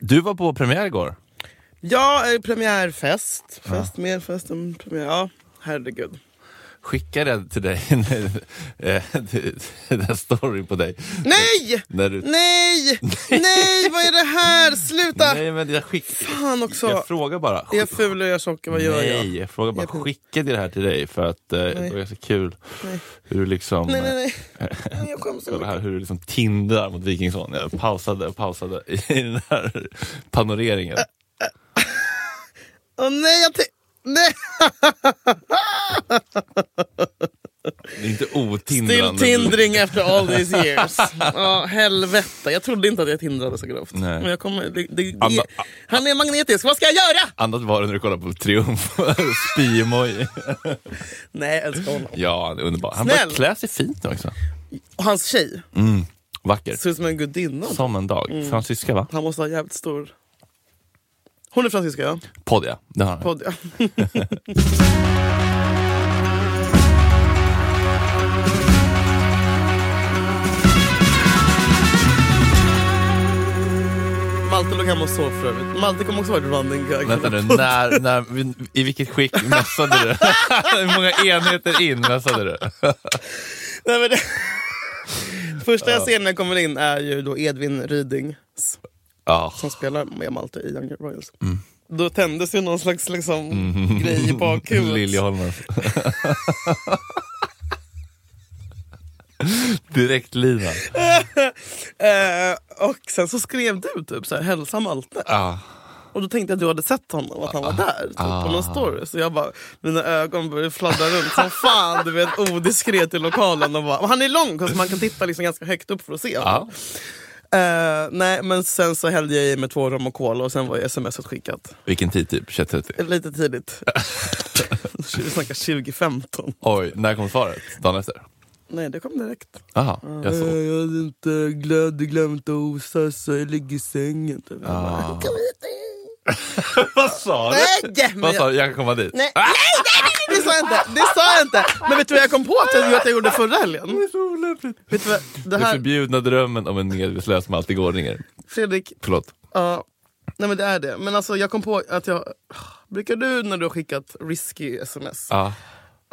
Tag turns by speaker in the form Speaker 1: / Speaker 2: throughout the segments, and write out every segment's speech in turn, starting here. Speaker 1: Du var på premiär igår.
Speaker 2: Ja, eh, premiärfest. Fest, mer fest än premiär. Ja, herregud.
Speaker 1: Skickade till dig eh, den storyn på dig.
Speaker 2: Nej!
Speaker 1: När du...
Speaker 2: Nej! Nej, vad är det här? Sluta!
Speaker 1: Nej, men jag skickade...
Speaker 2: Fan också.
Speaker 1: Jag frågar bara.
Speaker 2: Är jag ful och gör saker, vad gör jag?
Speaker 1: Nej, jag frågar bara.
Speaker 2: Jag tror-
Speaker 1: Skickade det här till dig för att eh, det var ganska kul
Speaker 2: Nej.
Speaker 1: hur du liksom...
Speaker 2: Nej, nej, nej. nej jag skäms så
Speaker 1: Kolla
Speaker 2: mycket.
Speaker 1: här hur du liksom tindrar mot Wikingsson. Jag pausade och pausade i den här panoreringen.
Speaker 2: Åh nej, jag... te- Nej!
Speaker 1: Det är inte
Speaker 2: Still
Speaker 1: otindrande.
Speaker 2: tindring after all these years. Ja, helvete. Jag trodde inte att jag tindrade så grovt.
Speaker 1: Nej.
Speaker 2: Men jag kommer... Det, det,
Speaker 1: Anna-
Speaker 2: det, han är magnetisk, vad ska jag göra?
Speaker 1: Annat var det när du kollade på Triumf. Spiemoji.
Speaker 2: Nej, jag älskar honom.
Speaker 1: Ja, han är underbar. Han
Speaker 2: Snäll.
Speaker 1: börjar klä sig fint nu också.
Speaker 2: Och hans tjej
Speaker 1: Vacker.
Speaker 2: ser ut som en Mm. gudinna.
Speaker 1: Som en dag. Fransyska, va?
Speaker 2: Han måste ha jävligt stor... Hon är fransyska, ja.
Speaker 1: Podd, ja. Det har han.
Speaker 2: Podd, ja. Malte låg hemma och sov för övrigt. Malte kommer också vara ett running gag.
Speaker 1: Vänta nu, när, när, i vilket skick mässade du? Hur många enheter in mässade du?
Speaker 2: Nej, men det... Första jag ser när jag kommer in är ju då Edvin Ryding
Speaker 1: Ja.
Speaker 2: som spelar med Malte i Young Royals.
Speaker 1: Mm.
Speaker 2: Då tändes ju någon slags liksom, grej i bakhuvudet.
Speaker 1: Liljeholmen. Direkt lina.
Speaker 2: Eh, och sen så skrev du typ så här, hälsa Malte.
Speaker 1: Ja.
Speaker 2: Och då tänkte jag att du hade sett honom, att han var där typ, på
Speaker 1: Ah.
Speaker 2: någon story. Så jag bara, mina ögon började fladdra runt som fan, du vet odiskret i lokalen. Och bara, och han är lång så man kan titta liksom ganska högt upp för att se honom.
Speaker 1: Ja.
Speaker 2: Eh, nej men sen så hällde jag i mig två rom och cola och sen var ju smset skickat.
Speaker 1: Vilken tid typ? 21.30?
Speaker 2: Lite tidigt. Vi snackar 2015.
Speaker 1: Oj, när kom svaret? Dagen efter?
Speaker 2: Nej det kom direkt.
Speaker 1: Jaha, jag
Speaker 2: Eh,
Speaker 1: såg.
Speaker 2: jag hade inte glöd, glömt att osa så jag ligger i sängen. Typ. Jag bara,
Speaker 1: Ah.
Speaker 2: "Kom hit."
Speaker 1: Vad sa
Speaker 2: Nej, men
Speaker 1: Vad sa
Speaker 2: jag,
Speaker 1: du? Ah! Jag kan komma dit?
Speaker 2: nej, nej, nej, nej, det sa jag inte. Det sa jag inte. Men vet du vad jag kom på att jag, att jag gjorde förra helgen?
Speaker 1: så olämpligt.
Speaker 2: Vet du vad, det
Speaker 1: Den
Speaker 2: här,
Speaker 1: förbjudna drömmen om en medvetslös Malte Gårdinger.
Speaker 2: Fredrik,
Speaker 1: Förlåt.
Speaker 2: ja. nej men det är det. Men alltså jag kom på att jag... Brukar du när du har skickat risky sms
Speaker 1: Ja.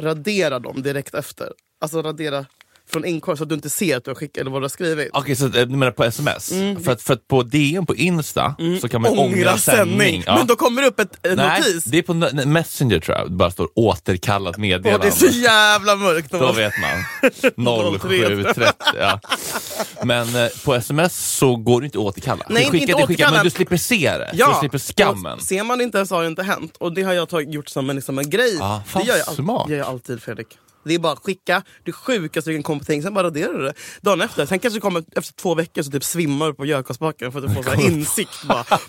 Speaker 2: radera dem direkt efter? Alltså radera från inkorgen så att du inte ser att du har skickat eller vad du har skrivit.
Speaker 1: Okej, så eh, du menar på sms?
Speaker 2: Mm.
Speaker 1: För, att, för att på DM på Insta så kan man ångra, Ja.
Speaker 2: Men då kommer det upp ett, en
Speaker 1: Nej,
Speaker 2: notis.
Speaker 1: det är på n- Messenger tror jag. Det bara står återkallat
Speaker 2: Och det
Speaker 1: meddelande.
Speaker 2: är så jävla mörkt.
Speaker 1: Då vet man. 07.30. Ja. Men eh, på sms så går det inte att återkalla.
Speaker 2: Nej,
Speaker 1: du skickar,
Speaker 2: inte
Speaker 1: det skickar,
Speaker 2: återkalla.
Speaker 1: men du slipper se det. Du slipper skammen.
Speaker 2: och Ser man det inte ens har det inte hänt. Och det har jag tagit, gjort som en, liksom en grej.
Speaker 1: Ah, fan,
Speaker 2: det gör jag, all-
Speaker 1: smart.
Speaker 2: gör jag alltid Fredrik. Det är bara att skicka det sjukaste du kan komma på tänk, sen bara raderar du det. Dagen efter, sen kanske det kommer efter två veckor så typ svimmar du på gökarlsbacken för att du får så här insikt. Bara, Fuck,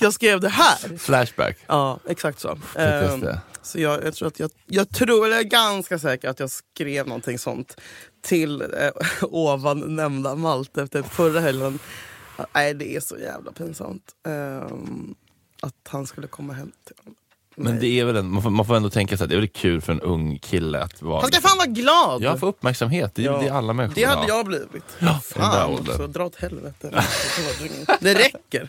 Speaker 2: jag skrev det här!
Speaker 1: Flashback.
Speaker 2: Ja, exakt så.
Speaker 1: just
Speaker 2: Ehm,
Speaker 1: det.
Speaker 2: så jag, jag tror att jag, jag tror, eller jag är ganska säker att jag skrev någonting sånt till eh, ovan nämnda Malte efter förra helgen. Ah, Nej, det är så jävla pinsamt. Ehm, att han skulle komma hem till honom.
Speaker 1: Men det är väl en, man, får, man får ändå tänka sig att det är väl kul för en ung kille att vara...
Speaker 2: Han ska fan vara glad!
Speaker 1: Ja, få uppmärksamhet. Det är
Speaker 2: Ja.
Speaker 1: det alla människor
Speaker 2: Det
Speaker 1: vill
Speaker 2: hade
Speaker 1: ha.
Speaker 2: jag blivit.
Speaker 1: Ja, i den
Speaker 2: Fan
Speaker 1: där åldern.
Speaker 2: också, dra åt helvete. Det räcker.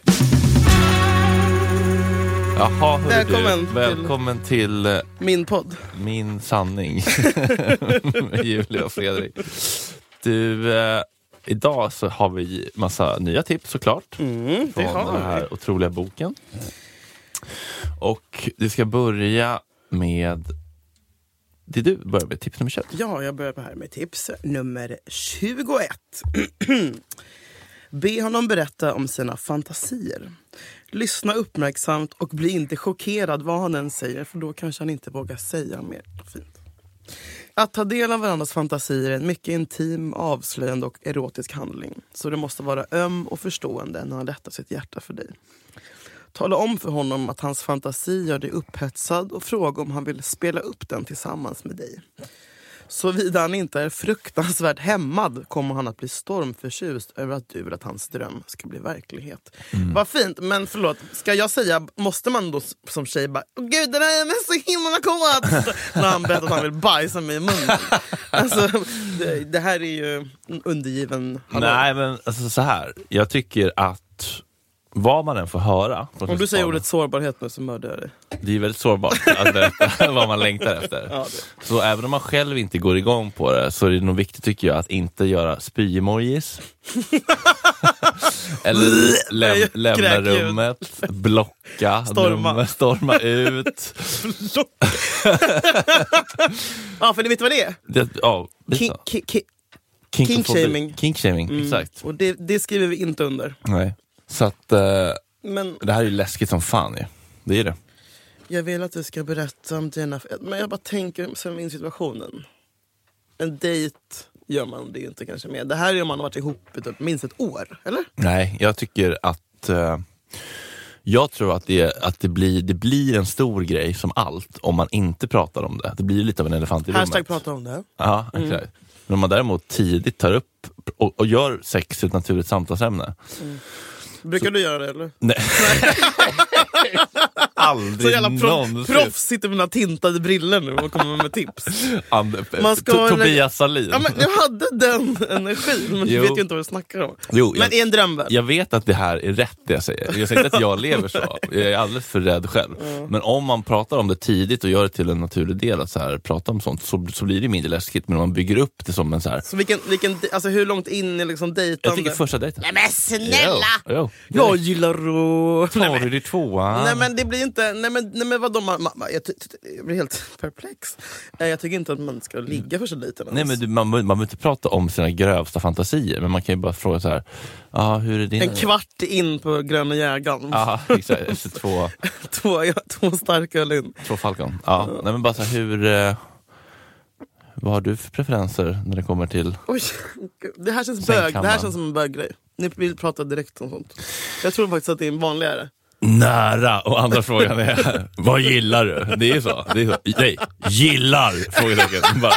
Speaker 1: Jaha, hörru
Speaker 2: Välkommen
Speaker 1: du.
Speaker 2: till-
Speaker 1: Välkommen till eh,
Speaker 2: Min podd.
Speaker 1: Min sanning med Julia och Fredrik. Du, eh, idag så har vi massa nya tips såklart. från
Speaker 2: Mm, har
Speaker 1: den här otroliga boken. Och vi ska börja med... Det är du börjar med, tips nummer 21.
Speaker 2: Ja, jag börjar här med tips nummer 21. Be honom berätta om sina fantasier. Lyssna uppmärksamt och bli inte chockerad vad han än säger för då kanske han inte vågar säga mer. Fint. Att ta del av varandras fantasier är en mycket intim, avslöjande och erotisk handling. Så du måste vara öm och förstående när han lättar sitt hjärta för dig. Tala om för honom att hans fantasi gör dig upphetsad och fråga om han vill spela upp den tillsammans med dig. Såvida han inte är fruktansvärt hämmad kommer han att bli stormförtjust över att du vill att hans dröm ska bli verklighet. Vad fint, men förlåt, ska jag säga, måste man då s- som tjej bara "Åh “Gud, den här är mig så himla kåt” när han berättar att han vill bajsa mig i munnen? Alltså, det, det här är ju en undergiven... hallå.
Speaker 1: Nej, men alltså, så här. Jag tycker att vad man än får höra. från
Speaker 2: Om du säger
Speaker 1: Kristianstad-
Speaker 2: ordet sårbarhet nu så mördar jag dig.
Speaker 1: Det är väldigt sårbart att berätta vad man längtar efter.
Speaker 2: Ja, det.
Speaker 1: Så även om man själv inte går igång på det så är det nog viktigt tycker jag att inte göra spy-emojis. Eller läm-
Speaker 2: Nej,
Speaker 1: lämna
Speaker 2: kräkljud.
Speaker 1: rummet, blocka,
Speaker 2: Storma.
Speaker 1: nummer, storma ut.
Speaker 2: Ja, för ni vet vad det är?
Speaker 1: Det, ja,
Speaker 2: Ki-
Speaker 1: Kink,
Speaker 2: ki- ki- kinkshaming.
Speaker 1: Kinkshaming,
Speaker 2: Mm.
Speaker 1: exakt.
Speaker 2: Och det, det skriver vi inte under.
Speaker 1: Nej. Så att, eh,
Speaker 2: Men
Speaker 1: det här är ju läskigt som fan ju. Det är det.
Speaker 2: jag vill att du ska berätta om dina... Men jag bara tänker sen min situationen. En dejt gör man det ju inte kanske mer. Det här är om man har varit ihop i typ minst ett år, eller?
Speaker 1: Nej, jag tycker att eh, jag tror att, det, att det, blir, det blir en stor grej som allt om man inte pratar om det. Det blir lite av en elefant i
Speaker 2: Hashtag Mm.
Speaker 1: rummet.
Speaker 2: prata om det.
Speaker 1: Ja, exakt. Men om man däremot tidigt tar upp och, och gör sex till ett naturligt samtalsämne.
Speaker 2: Brukar du göra det eller?
Speaker 1: Nej.
Speaker 2: Så
Speaker 1: Aldrig
Speaker 2: jävla proff,
Speaker 1: någonsin.
Speaker 2: proffs sitter med mina tintade briller nu och kommer med tips.
Speaker 1: And-
Speaker 2: Man ska
Speaker 1: To-
Speaker 2: lägga-
Speaker 1: Tobias Sahlin.
Speaker 2: Ja, men jag hade den energin, men du
Speaker 1: Jo.
Speaker 2: vet ju inte vad du snackar om.
Speaker 1: Jo,
Speaker 2: men
Speaker 1: jag-
Speaker 2: i en drömvärld.
Speaker 1: Jag vet att det här är rätt det jag säger. Jag säger inte att jag lever så. Jag är alldeles för rädd själv.
Speaker 2: Mm.
Speaker 1: Men om man pratar om det tidigt och gör det till en naturlig del att så här, prata om sånt så, så blir det mindre läskigt. Men om man bygger upp det som en så här.
Speaker 2: Så vilken, vilken, alltså hur långt in i liksom
Speaker 1: Jag
Speaker 2: dejtande?
Speaker 1: tycker första dejten.
Speaker 2: Nej men snälla!
Speaker 1: Jo, jo.
Speaker 2: Jag gillar att... Nej,
Speaker 1: Tar
Speaker 2: men-
Speaker 1: du det i tvåan?
Speaker 2: Nej men det blir inte, nej men, nej, men vadå, man, man, jag, ty- ty- jag blir helt perplex. Eh, Jag tycker inte att man ska ligga första dejten.
Speaker 1: Nej,
Speaker 2: ens.
Speaker 1: men du, man, man behöver inte prata om sina grövsta fantasier, men man kan ju bara fråga så här. Ja, hur är din...
Speaker 2: En kvart in på gröna jägaren,
Speaker 1: Ja, exakt. Efter två,
Speaker 2: två, ja, två starka öl in.
Speaker 1: två Falcon. Ja. Nej, men bara så här, hur... Eh, vad har du för preferenser när det kommer till...
Speaker 2: Oj, gud. det här känns
Speaker 1: Sen
Speaker 2: bög, det
Speaker 1: kan
Speaker 2: här
Speaker 1: man.
Speaker 2: känns som en böggrej. Ni vill prata direkt om sånt. Jag tror faktiskt att det är vanligare.
Speaker 1: Nära! Och andra frågan är, vad gillar du? Det är ju så. Det är så. Nej, gillar! Frågetecken. Bara.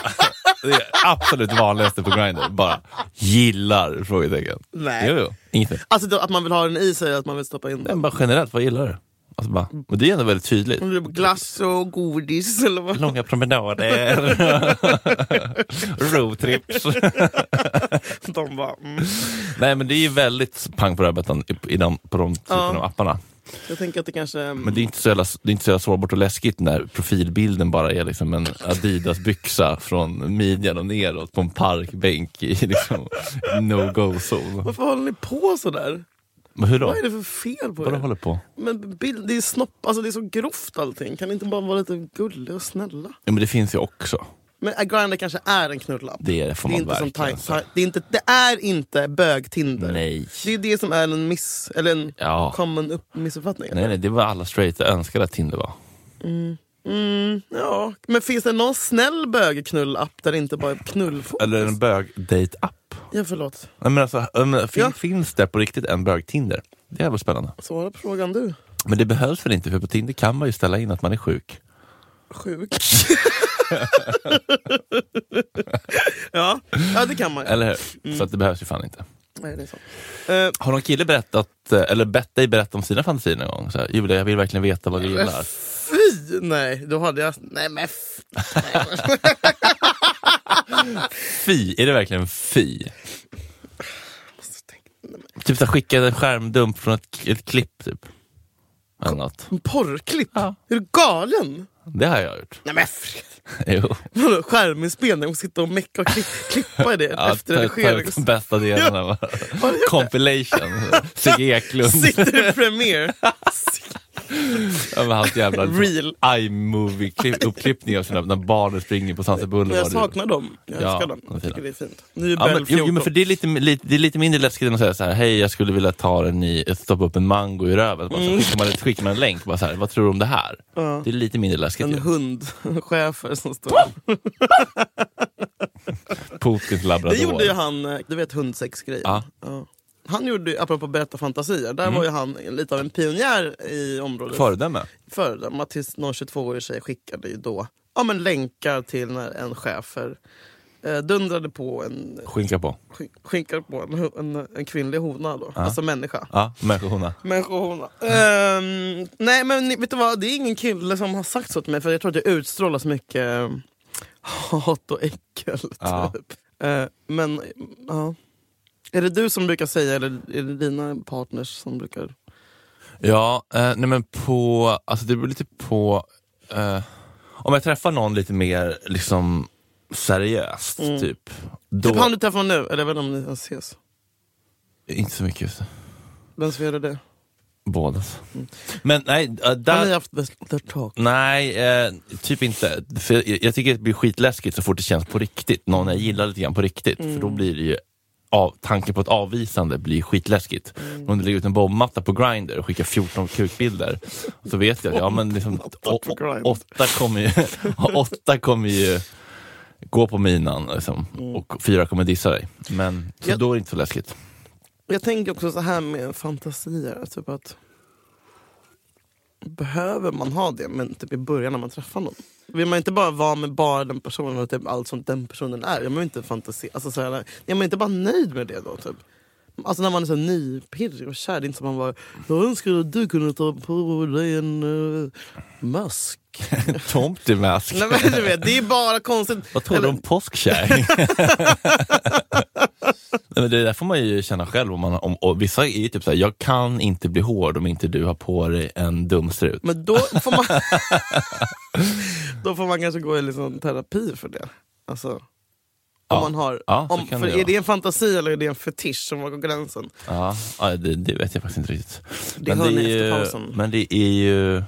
Speaker 1: Det är absolut vanligaste på Grindr. Bara, gillar? Frågetecken.
Speaker 2: Nej.
Speaker 1: Jo, jo. Inget mer.
Speaker 2: Alltså då- att man vill ha den i sig, att man vill stoppa in
Speaker 1: Nej,
Speaker 2: den.
Speaker 1: men bara generellt, vad gillar du? Alltså bara, och det är ändå väldigt tydligt.
Speaker 2: Om det är Glass och godis eller vad.
Speaker 1: Långa promenader. Roadtrips.
Speaker 2: De bara, mm.
Speaker 1: Nej men det är ju väldigt pang på rödbetan i- i de, på de typen
Speaker 2: Ja.
Speaker 1: av apparna.
Speaker 2: Jag tänker att det kanske...
Speaker 1: Men det är, inte så jävla, det är inte så jävla sårbart och läskigt när profilbilden bara är liksom en Adidas-byxa från midjan och neråt på en parkbänk i liksom no-go-zon.
Speaker 2: Varför håller ni på sådär?
Speaker 1: Men hur då?
Speaker 2: Vad är det för fel på
Speaker 1: Vad du
Speaker 2: er?
Speaker 1: håller på?
Speaker 2: Men bild, det är snopp, alltså det är så grovt allting. Kan ni inte bara vara lite gulliga och snälla?
Speaker 1: Ja, men det finns ju också.
Speaker 2: Men äh, Grindr kanske är en knullapp.
Speaker 1: Det får
Speaker 2: det är
Speaker 1: man
Speaker 2: inte som
Speaker 1: verkligen
Speaker 2: taj,
Speaker 1: säga.
Speaker 2: taj, det, är inte, det är inte bög-Tinder.
Speaker 1: Nej.
Speaker 2: Det är det som är en miss, eller en
Speaker 1: Ja.
Speaker 2: common upp, missuppfattning.
Speaker 1: Nej, nej, det var alla straighta önskade att Tinder var.
Speaker 2: Mm, ja. Men finns det någon snäll bögknullapp där det inte bara är knullfokus?
Speaker 1: Eller en bög-date-app.
Speaker 2: Ja, förlåt.
Speaker 1: Nej, men alltså, ja, men fin,
Speaker 2: Ja.
Speaker 1: Finns det på riktigt en bög-Tinder? Det är väl spännande.
Speaker 2: Svara på frågan du.
Speaker 1: Men det behövs väl inte, för på Tinder kan man ju ställa in att man är sjuk.
Speaker 2: Sjuk. ja. ja, det kan man ju.
Speaker 1: Eller hur?
Speaker 2: Mm.
Speaker 1: Så att det behövs ju fan inte.
Speaker 2: Nej, det är sant. Eh,
Speaker 1: Har någon kille berättat, eh, eller bett dig berätta om sina fantasier någon gång? Så här, Julia, jag vill verkligen veta vad du gillar.
Speaker 2: Fy! Nej, då hade jag... Nej men... f- nej.
Speaker 1: Fy, är det verkligen fy?
Speaker 2: Så tänkte
Speaker 1: Typ så här, skicka en skärmdump från ett, ett klipp typ. Eller något.
Speaker 2: jag, Porrklipp?
Speaker 1: Ja.
Speaker 2: Är du galen?
Speaker 1: Det har jag gjort.
Speaker 2: Nej men Fredrik.
Speaker 1: Jo.
Speaker 2: Vadå skärminspelning? Och sitta och mecka och klipp, klippa i det
Speaker 1: Ja,
Speaker 2: efter
Speaker 1: ta- ta
Speaker 2: redigering.
Speaker 1: ut de bästa delarna. bara. Compilation. Sigge Eklund.
Speaker 2: Sitter i Premiere.
Speaker 1: Över hans jävla
Speaker 2: Real.
Speaker 1: iMovie-uppklippning av sina, när barnen springer på Sunset
Speaker 2: Men jag
Speaker 1: Boulevard.
Speaker 2: saknar dem. Jag
Speaker 1: Ja,
Speaker 2: älskar dem.
Speaker 1: de är
Speaker 2: Jag
Speaker 1: fina.
Speaker 2: tycker det är fint. Nu är
Speaker 1: Ja, men,
Speaker 2: Bell
Speaker 1: jo, jo,
Speaker 2: 14.
Speaker 1: men för det, är lite, lite, det är lite mindre läskigt än att säga så här, hej jag skulle vilja ta en ny, stoppa upp en mango i röven. Bara så,
Speaker 2: Mm.
Speaker 1: här, skickar, man, ett- skickar man en länk, bara så här, vad tror du om det här? Det är lite mindre läskigt.
Speaker 2: En
Speaker 1: ju.
Speaker 2: hundchefer som står...
Speaker 1: Putins labrador.
Speaker 2: Det gjorde ju han, eh, du vet hundsexgrejen.
Speaker 1: Ja. Mm.
Speaker 2: Ja. Han gjorde, ju- apropå berätta fantasier, där var ju han lite av en pionjär i området.
Speaker 1: Föredöme.
Speaker 2: föredöma tills någon 22-årig tjej skickade ju då ja, men länkar till när en chefer eh, dundrade på en,
Speaker 1: Skinka på.
Speaker 2: skin- skinkade på en, ho- en, en kvinnlig hona då, alltså människa.
Speaker 1: Ja, människohona.
Speaker 2: Människohona. Ehm, nej men ni- vet du vad, det är ingen kille som har sagt så till mig för jag tror att jag utstrålar så mycket eh, hat och äckel. Typ.
Speaker 1: Ja.
Speaker 2: Eh, men ja. Är det du som brukar säga eller är det dina partners som brukar
Speaker 1: Ja, eh, nej men på, alltså det beror lite på, eh, om jag träffar någon lite mer liksom seriöst typ. Då,
Speaker 2: Mm. Typ han du träffar nu, eller jag vet inte om ni ens ses.
Speaker 1: Inte så mycket just det.
Speaker 2: Vem som gjorde det?
Speaker 1: båda. alltså. Men nej, eh, där...
Speaker 2: Har ni haft bachelor talk?
Speaker 1: Nej, eh, typ inte. För jag, jag tycker det blir skitläskigt så fort det känns på riktigt. Någon jag gillar lite grann på riktigt. För
Speaker 2: Mm.
Speaker 1: då blir det ju, av, tanken på ett avvisande blir skitläskigt.
Speaker 2: Mm.
Speaker 1: Men Om du lägger ut en bombmatta på Grindr och skickar 14 kukbilder. Så vet jag att ja, men liksom, å,
Speaker 2: på Grindr.
Speaker 1: åtta kommer ju, åtta kommer ju gå på minan liksom,
Speaker 2: Mm.
Speaker 1: och fyra kommer dissa dig. Men, så
Speaker 2: Jag-
Speaker 1: då är det inte så läskigt.
Speaker 2: Jag tänker också så här med fantasier, typ att behöver man ha det men typ i början när man träffar någon? Vill man inte bara vara med bara den personen och typ allt som den personen är? Jag man inte fantasi, alltså så här, är man inte bara nöjd med det då? Typ? Alltså när man är så nypirrig och kär, det är inte som man bara Jag önskar att du kunde ta på dig en uh, mask.
Speaker 1: Tomtemask.
Speaker 2: Nej men du vet, det är bara konstigt.
Speaker 1: Vad tror du
Speaker 2: Eller-
Speaker 1: om påskkärring? Nej, men det där får man ju känna själv. Om man, om, och vissa är ju typ såhär, jag kan inte bli hård om inte du har på dig en dum strut.
Speaker 2: Men då får man Då får man kanske gå i liksom terapi för det. Alltså, om
Speaker 1: Ja.
Speaker 2: man har,
Speaker 1: Ja, så
Speaker 2: om,
Speaker 1: kan
Speaker 2: för
Speaker 1: det
Speaker 2: är
Speaker 1: vara.
Speaker 2: det en fantasi eller är det en fetisch som var på gränsen?
Speaker 1: Ja, ja det, det vet jag faktiskt inte riktigt.
Speaker 2: Det hör ni
Speaker 1: är
Speaker 2: efter
Speaker 1: ju-
Speaker 2: pausen.
Speaker 1: Men det är ju...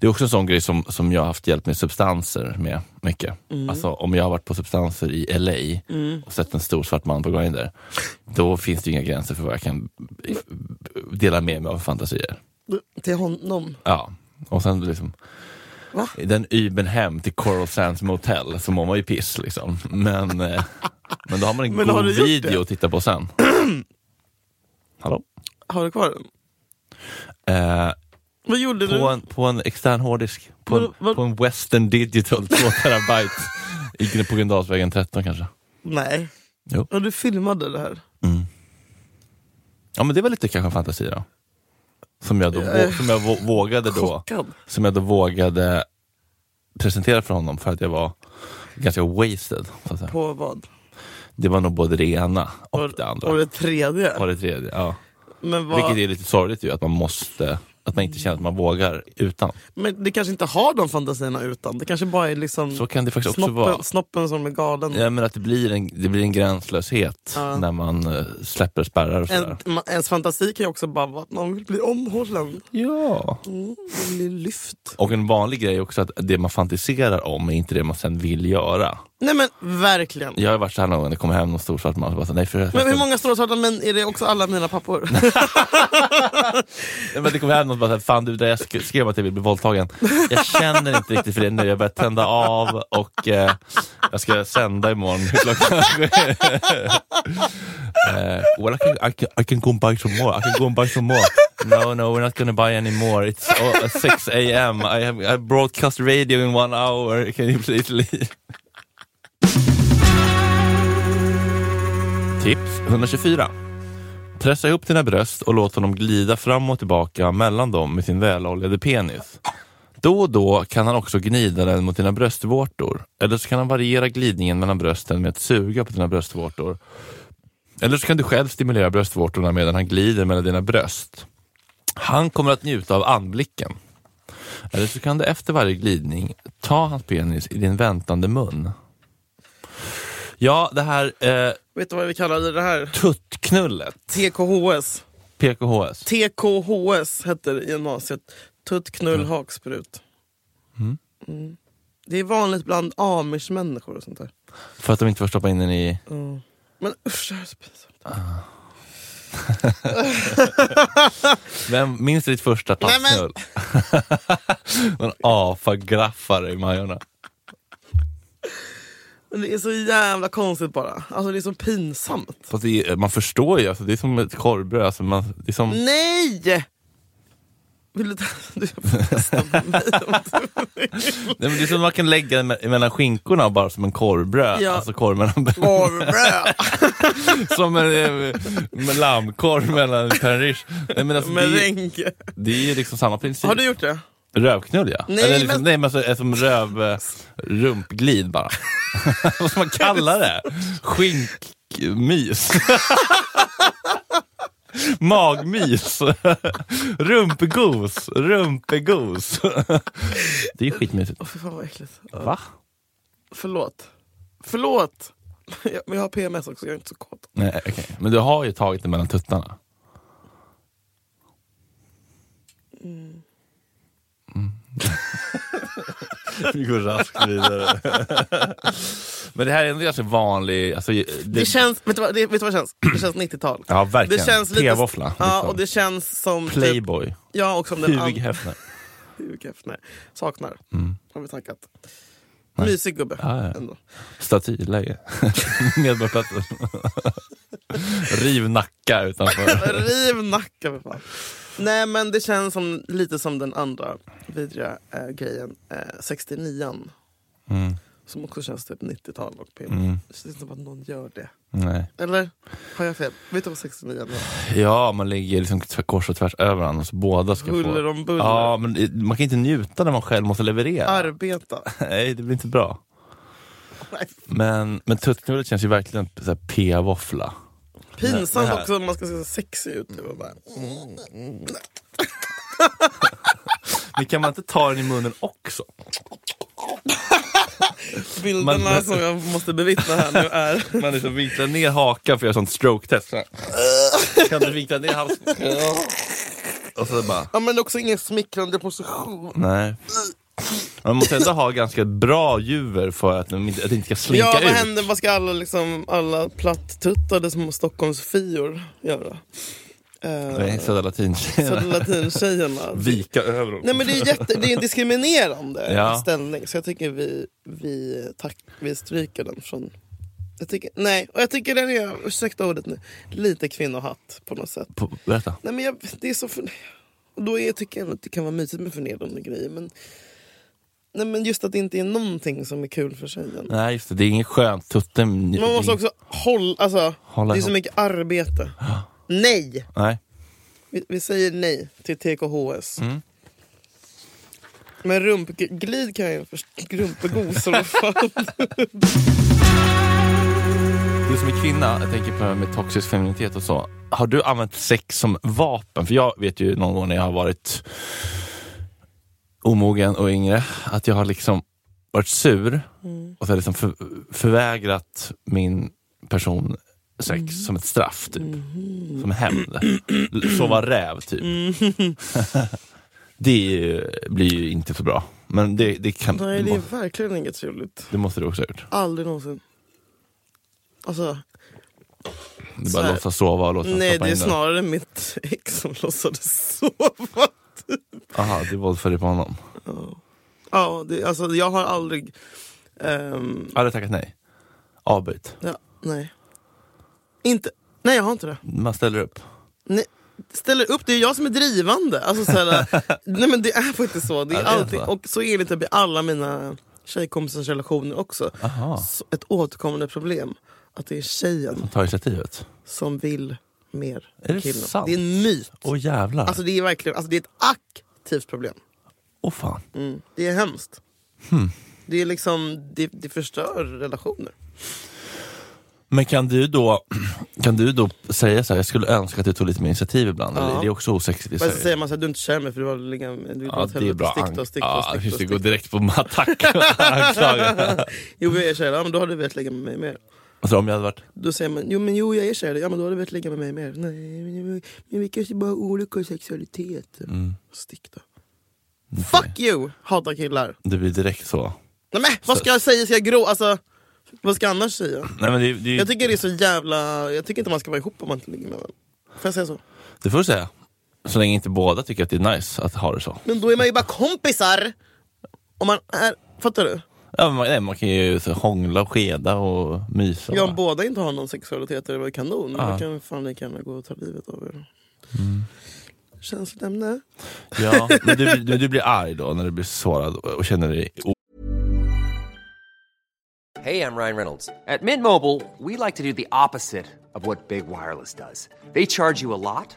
Speaker 1: Det är också en sån grej som, som jag har haft hjälp med substanser med mycket.
Speaker 2: Mm.
Speaker 1: Alltså om jag har varit på substanser i LA och sett en stor svart man på Grindr, då finns det ju inga gränser för vad jag kan eh, dela med mig av fantasier.
Speaker 2: Till honom?
Speaker 1: Ja, och sen liksom
Speaker 2: Va?
Speaker 1: i den Uben hem till Coral Sands Motel så mår man ju piss liksom. Men, eh, men då har man en
Speaker 2: Men har
Speaker 1: god
Speaker 2: du gjort det?
Speaker 1: video att titta på sen. Hallå?
Speaker 2: Har du kvar den?
Speaker 1: Eh,
Speaker 2: Vad gjorde du?
Speaker 1: på, en, på en extern hårddisk, på en,
Speaker 2: Vad- vad-
Speaker 1: på en Western Digital 2 terabyte i- på Gröndalsvägen 13 kanske.
Speaker 2: Nej.
Speaker 1: Jo.
Speaker 2: Och du filmade det här?
Speaker 1: Ja men det var lite kanske en fantasi då. Som jag, då,
Speaker 2: Eh.
Speaker 1: vå- som jag vå- vågade då
Speaker 2: Chockad.
Speaker 1: som jag då vågade presentera för honom för att jag var ganska wasted. Så att säga.
Speaker 2: På vad?
Speaker 1: Det var nog både det ena och, det andra.
Speaker 2: Och det tredje?
Speaker 1: Och det tredje, ja.
Speaker 2: Men,
Speaker 1: Vilket
Speaker 2: vad,
Speaker 1: är lite sorgligt ju, att man måste, att man inte känner att man vågar utan.
Speaker 2: men det kanske inte har de fantasierna utan? Det kanske bara är liksom
Speaker 1: Så kan det faktiskt också vara.
Speaker 2: snoppen, snoppen som är galen?
Speaker 1: Ja, men att det blir en, det blir en gränslöshet
Speaker 2: Ja.
Speaker 1: när man eh, släpper spärrar och sådär.
Speaker 2: En, ma- ens fantasi kan ju också bara vara att man vill bli omhållen.
Speaker 1: Ja.
Speaker 2: Mm, man blir lyft.
Speaker 1: Och en vanlig grej är också att det man fantiserar om är inte det man sen vill göra.
Speaker 2: Nej men verkligen.
Speaker 1: Jag har varit såhär någon gång, det kommer hem någon stor svart man och bara så, nej för
Speaker 2: Men hur många stora svarta män är det också alla mina pappor?
Speaker 1: Nej, Men det kom hem någon och bara, så här, fan du, där jag sk- skrev att jag vill bli våldtagen. Jag känner inte riktigt för det nu, jag börjar tända av och eh, jag ska sända imorgon. Klockan Eh, well, I can, I, can, I can go and buy some more, I can go and buy some more. No, no, we're not gonna buy any more. It's oh, 6 am, I have I broadcast radio in one hour. Can you please leave? Tips 124. Pressa ihop dina bröst och låt honom glida fram och tillbaka mellan dem med sin väloljade penis. Då och då kan han också gnida den mot dina bröstvårtor. Eller så kan han variera glidningen mellan brösten med att suga på dina bröstvårtor. Eller så kan du själv stimulera bröstvårtorna medan han glider mellan dina bröst. Han kommer att njuta av anblicken. Eller så kan du efter varje glidning ta hans penis i din väntande mun. Ja, det här eh,
Speaker 2: Vet du vad vi kallade det här?
Speaker 1: tuttknullet,
Speaker 2: TKHS.
Speaker 1: PKHS.
Speaker 2: TKHS hette det i gymnasiet. Tutt, knull, haksprut. Mm. Det är vanligt bland amish-människor och sånt där.
Speaker 1: För att de inte får stoppa in den i...
Speaker 2: Men usch, det här är så pinsamt.
Speaker 1: Vem minns ditt första
Speaker 2: Nej, men-
Speaker 1: tassknull? Man afagraffar i Majorna.
Speaker 2: Men Det är så jävla konstigt bara. Alltså det är så pinsamt.
Speaker 1: Fast det är, man förstår ju, alltså, det är som ett korvbröd. Alltså, man, det är
Speaker 2: Mm.
Speaker 1: som,
Speaker 2: Nej! Vill du ta... Du får testa på mig om du vill.
Speaker 1: nej, men det är som man kan lägga me- mellan skinkorna bara som en korvbröd.
Speaker 2: Ja.
Speaker 1: Alltså korv mellan,
Speaker 2: Korvbröd!
Speaker 1: som en eh, med lammkorv mellan Pern Rish. Nej, men alltså, det,
Speaker 2: Med
Speaker 1: är-
Speaker 2: ränke.
Speaker 1: det är ju liksom samma princip.
Speaker 2: Har du gjort det?
Speaker 1: Rövknull ja.
Speaker 2: Nej,
Speaker 1: Eller liksom,
Speaker 2: men-
Speaker 1: nej men alltså, eh, som röv... eh, Rumpglid bara. Vad ska man kalla det? Skinkmys. Magmys. Rumpegos. Rumpegos. Det är ju skitmysigt.
Speaker 2: Åh, fy fan vad äckligt.
Speaker 1: Va?
Speaker 2: Förlåt. Förlåt! Jag, men jag har PMS också, jag är inte så kåt.
Speaker 1: Nej, okej. Men du har ju tagit det mellan tuttarna. Mm. Vi går raskt vidare. Men det här är en ganska vanlig... Alltså, det,
Speaker 2: Det, känns, vet du vad det, vet du vad det känns? Det känns 90-tal.
Speaker 1: ja, verkligen.
Speaker 2: Det känns lite...
Speaker 1: Tevåffla.
Speaker 2: Ja,
Speaker 1: liksom.
Speaker 2: och det känns som... Typ,
Speaker 1: Playboy.
Speaker 2: ja, och som den
Speaker 1: Huvig
Speaker 2: andra...
Speaker 1: Hefner.
Speaker 2: Hugh Hefner. Saknar,
Speaker 1: Mm.
Speaker 2: har vi tankat.
Speaker 1: Nej.
Speaker 2: Mysig gubbe.
Speaker 1: Ja, ja.
Speaker 2: Ändå.
Speaker 1: Staty, läge. Medborgarplatsen. Riv Nacka utanför.
Speaker 2: Riv nacken för fan. Nej men det känns som, lite som den andra vidriga eh, grejen. Eh, 69
Speaker 1: Mm.
Speaker 2: som också känns typ 90-tal och PMS.
Speaker 1: Mm.
Speaker 2: Det känns som att någon gör det.
Speaker 1: Nej.
Speaker 2: Eller? Har jag fel? Vet du vad 69 var?
Speaker 1: Ja, man ligger liksom tv- kors och tvärs över varandra så båda ska få...
Speaker 2: Huller om buller.
Speaker 1: Ja, men i- man kan inte njuta när man själv måste leverera.
Speaker 2: Arbeta.
Speaker 1: Nej, det blir inte bra.
Speaker 2: Nej,
Speaker 1: Men, men tuttknullet känns ju verkligen så här p-våffla.
Speaker 2: Pinsamt
Speaker 1: Det här-
Speaker 2: också om man ska se så sexig ut. nu och bara,
Speaker 1: Men kan man inte ta den i munnen också?
Speaker 2: Bilderna
Speaker 1: Man-
Speaker 2: som jag måste bevittna här nu är...
Speaker 1: Man liksom vinklar ner hakan för att göra sånt stroke-test. Så här. Kan du vinkla ner halsen? Och så bara...
Speaker 2: Ja men också ingen smickrande position.
Speaker 1: Nej. Man måste ändå ha ganska bra juver för att, de inte- att det inte ska slinka
Speaker 2: Ja vad
Speaker 1: ut.
Speaker 2: händer, vad ska alla liksom, alla platt-tuttade små Stockholmsfior göra?
Speaker 1: Nej,
Speaker 2: Eh,
Speaker 1: Södra
Speaker 2: Södra
Speaker 1: latintjejerna.
Speaker 2: latintjejerna.
Speaker 1: Vika över dem.
Speaker 2: Nej men det är, jätte, det är en diskriminerande
Speaker 1: Ja.
Speaker 2: ställning så jag tycker vi, vi, tack, vi stryker den från... Jag tycker, nej, och jag tycker den är, ursäkta ordet nu, lite kvinnohatt på något sätt.
Speaker 1: På, berätta.
Speaker 2: Nej men jag, det är så... För, och då är, tycker jag att det kan vara mysigt med förnedrande grejer men... Nej men just att det inte är någonting som är kul för tjejen.
Speaker 1: Nej, just det. Det är ingen skön tutte. men-
Speaker 2: Man måste också hålla, alltså,
Speaker 1: Hålla
Speaker 2: det är så
Speaker 1: ihop.
Speaker 2: mycket arbete. Nej!
Speaker 1: Nej.
Speaker 2: Vi, vi säger nej till TKHS.
Speaker 1: Mm.
Speaker 2: Men rumpglid kan jag förstå. Rumpegos i alla fall.
Speaker 1: Du som är kvinna, jag tänker på det här med toxisk femininitet och så. Har du använt sex som vapen? För jag vet ju någon gång när jag har varit omogen och yngre, att jag har liksom varit sur
Speaker 2: Mm.
Speaker 1: och så har jag liksom för, förvägrat min person sex
Speaker 2: Mm.
Speaker 1: som ett straff, typ. Som hämnd. L- Sova räv, typ.
Speaker 2: Mm.
Speaker 1: det är ju, blir ju inte så bra. Men det, det kan...
Speaker 2: Nej,
Speaker 1: det,
Speaker 2: det är
Speaker 1: må,
Speaker 2: verkligen inget trevligt.
Speaker 1: det måste du också ha gjort.
Speaker 2: Aldrig någonsin. Alltså,
Speaker 1: Det är
Speaker 2: Så
Speaker 1: bara
Speaker 2: här-
Speaker 1: att låtsas sova och låtsas
Speaker 2: nej,
Speaker 1: stoppa
Speaker 2: det är
Speaker 1: in den.
Speaker 2: snarare mitt ex som låtsades sova.
Speaker 1: Aha, du våldförde på honom.
Speaker 2: Ja, det, alltså, jag har aldrig... ehm,
Speaker 1: Aldrig tackat nej. Avböjt.
Speaker 2: ja, nej. Inte... Nej, jag har inte det.
Speaker 1: Man ställer upp.
Speaker 2: Nej, ställer upp, det är jag som är drivande. Alltså, så här, nej men det är faktiskt så. Det är
Speaker 1: Ja, det är
Speaker 2: alltid,
Speaker 1: så.
Speaker 2: och så är det typ i alla mina tjejkompisars relationer också.
Speaker 1: Aha.
Speaker 2: Så ett återkommande problem. Att det är tjejen
Speaker 1: Man tar initiativet.
Speaker 2: som vill mer
Speaker 1: Är det
Speaker 2: än killen.
Speaker 1: sant?
Speaker 2: Det är en myt.
Speaker 1: Åh jävlar. Åh
Speaker 2: Alltså det är verkligen alltså, det är ett aktivt problem.
Speaker 1: fan.
Speaker 2: Mm. Det är hemskt.
Speaker 1: Hmm.
Speaker 2: Det är liksom, det, det förstör relationer.
Speaker 1: Men kan du då, kan du då säga så här, jag skulle önska att du tog lite mer initiativ ibland.
Speaker 2: Ja.
Speaker 1: Eller är det också osexigt i
Speaker 2: Men
Speaker 1: Sverige?
Speaker 2: så säger man såhär, du är inte kär i mig för du har liksom, du är
Speaker 1: Ja,
Speaker 2: åt
Speaker 1: det är
Speaker 2: helvete,
Speaker 1: bra.
Speaker 2: stick då, stick då,
Speaker 1: ja, just
Speaker 2: stick då,
Speaker 1: det,
Speaker 2: stick
Speaker 1: går
Speaker 2: då.
Speaker 1: direkt på attack. Anklaga.
Speaker 2: Jo jag är kär, ja, men då hade du velat lägga med mig mer.
Speaker 1: Alltså om jag hade varit...
Speaker 2: Då säger man jo men jo jag är kär i dig. ja men då har du velat ligga med mig mer. Nej men, men, men vi kanske bara har olika sexualiteter.
Speaker 1: Mm.
Speaker 2: Stick då. Fuck you! Hatar killar.
Speaker 1: Det blir direkt så.
Speaker 2: Nej men vad ska jag säga? Ska jag grå? Alltså vad ska jag annars säga?
Speaker 1: Nej, men det, det,
Speaker 2: Jag tycker det är så jävla... Jag tycker inte man ska vara ihop om man inte ligger med varandra. Får jag säga så?
Speaker 1: det får du säga. Så länge inte båda tycker att det är nice att ha det så.
Speaker 2: Men då är man ju bara kompisar! Om man är... Fattar du?
Speaker 1: Ja, men man, nej, man kan ju så, hångla och skeda och mysa.
Speaker 2: Ja,
Speaker 1: bara.
Speaker 2: om båda inte har någon sexualitet är det väl kanon. Men
Speaker 1: Ja. Mm.
Speaker 2: då kan fan lika gärna gå och ta livet av er. Känsligt ämne.
Speaker 1: Ja, men du, du, du blir arg då när du blir sårad och och känner dig o-
Speaker 3: Hey, I'm Ryan Reynolds. At Mint Mobile, we like to do the opposite of what Big Wireless does. They charge you a lot,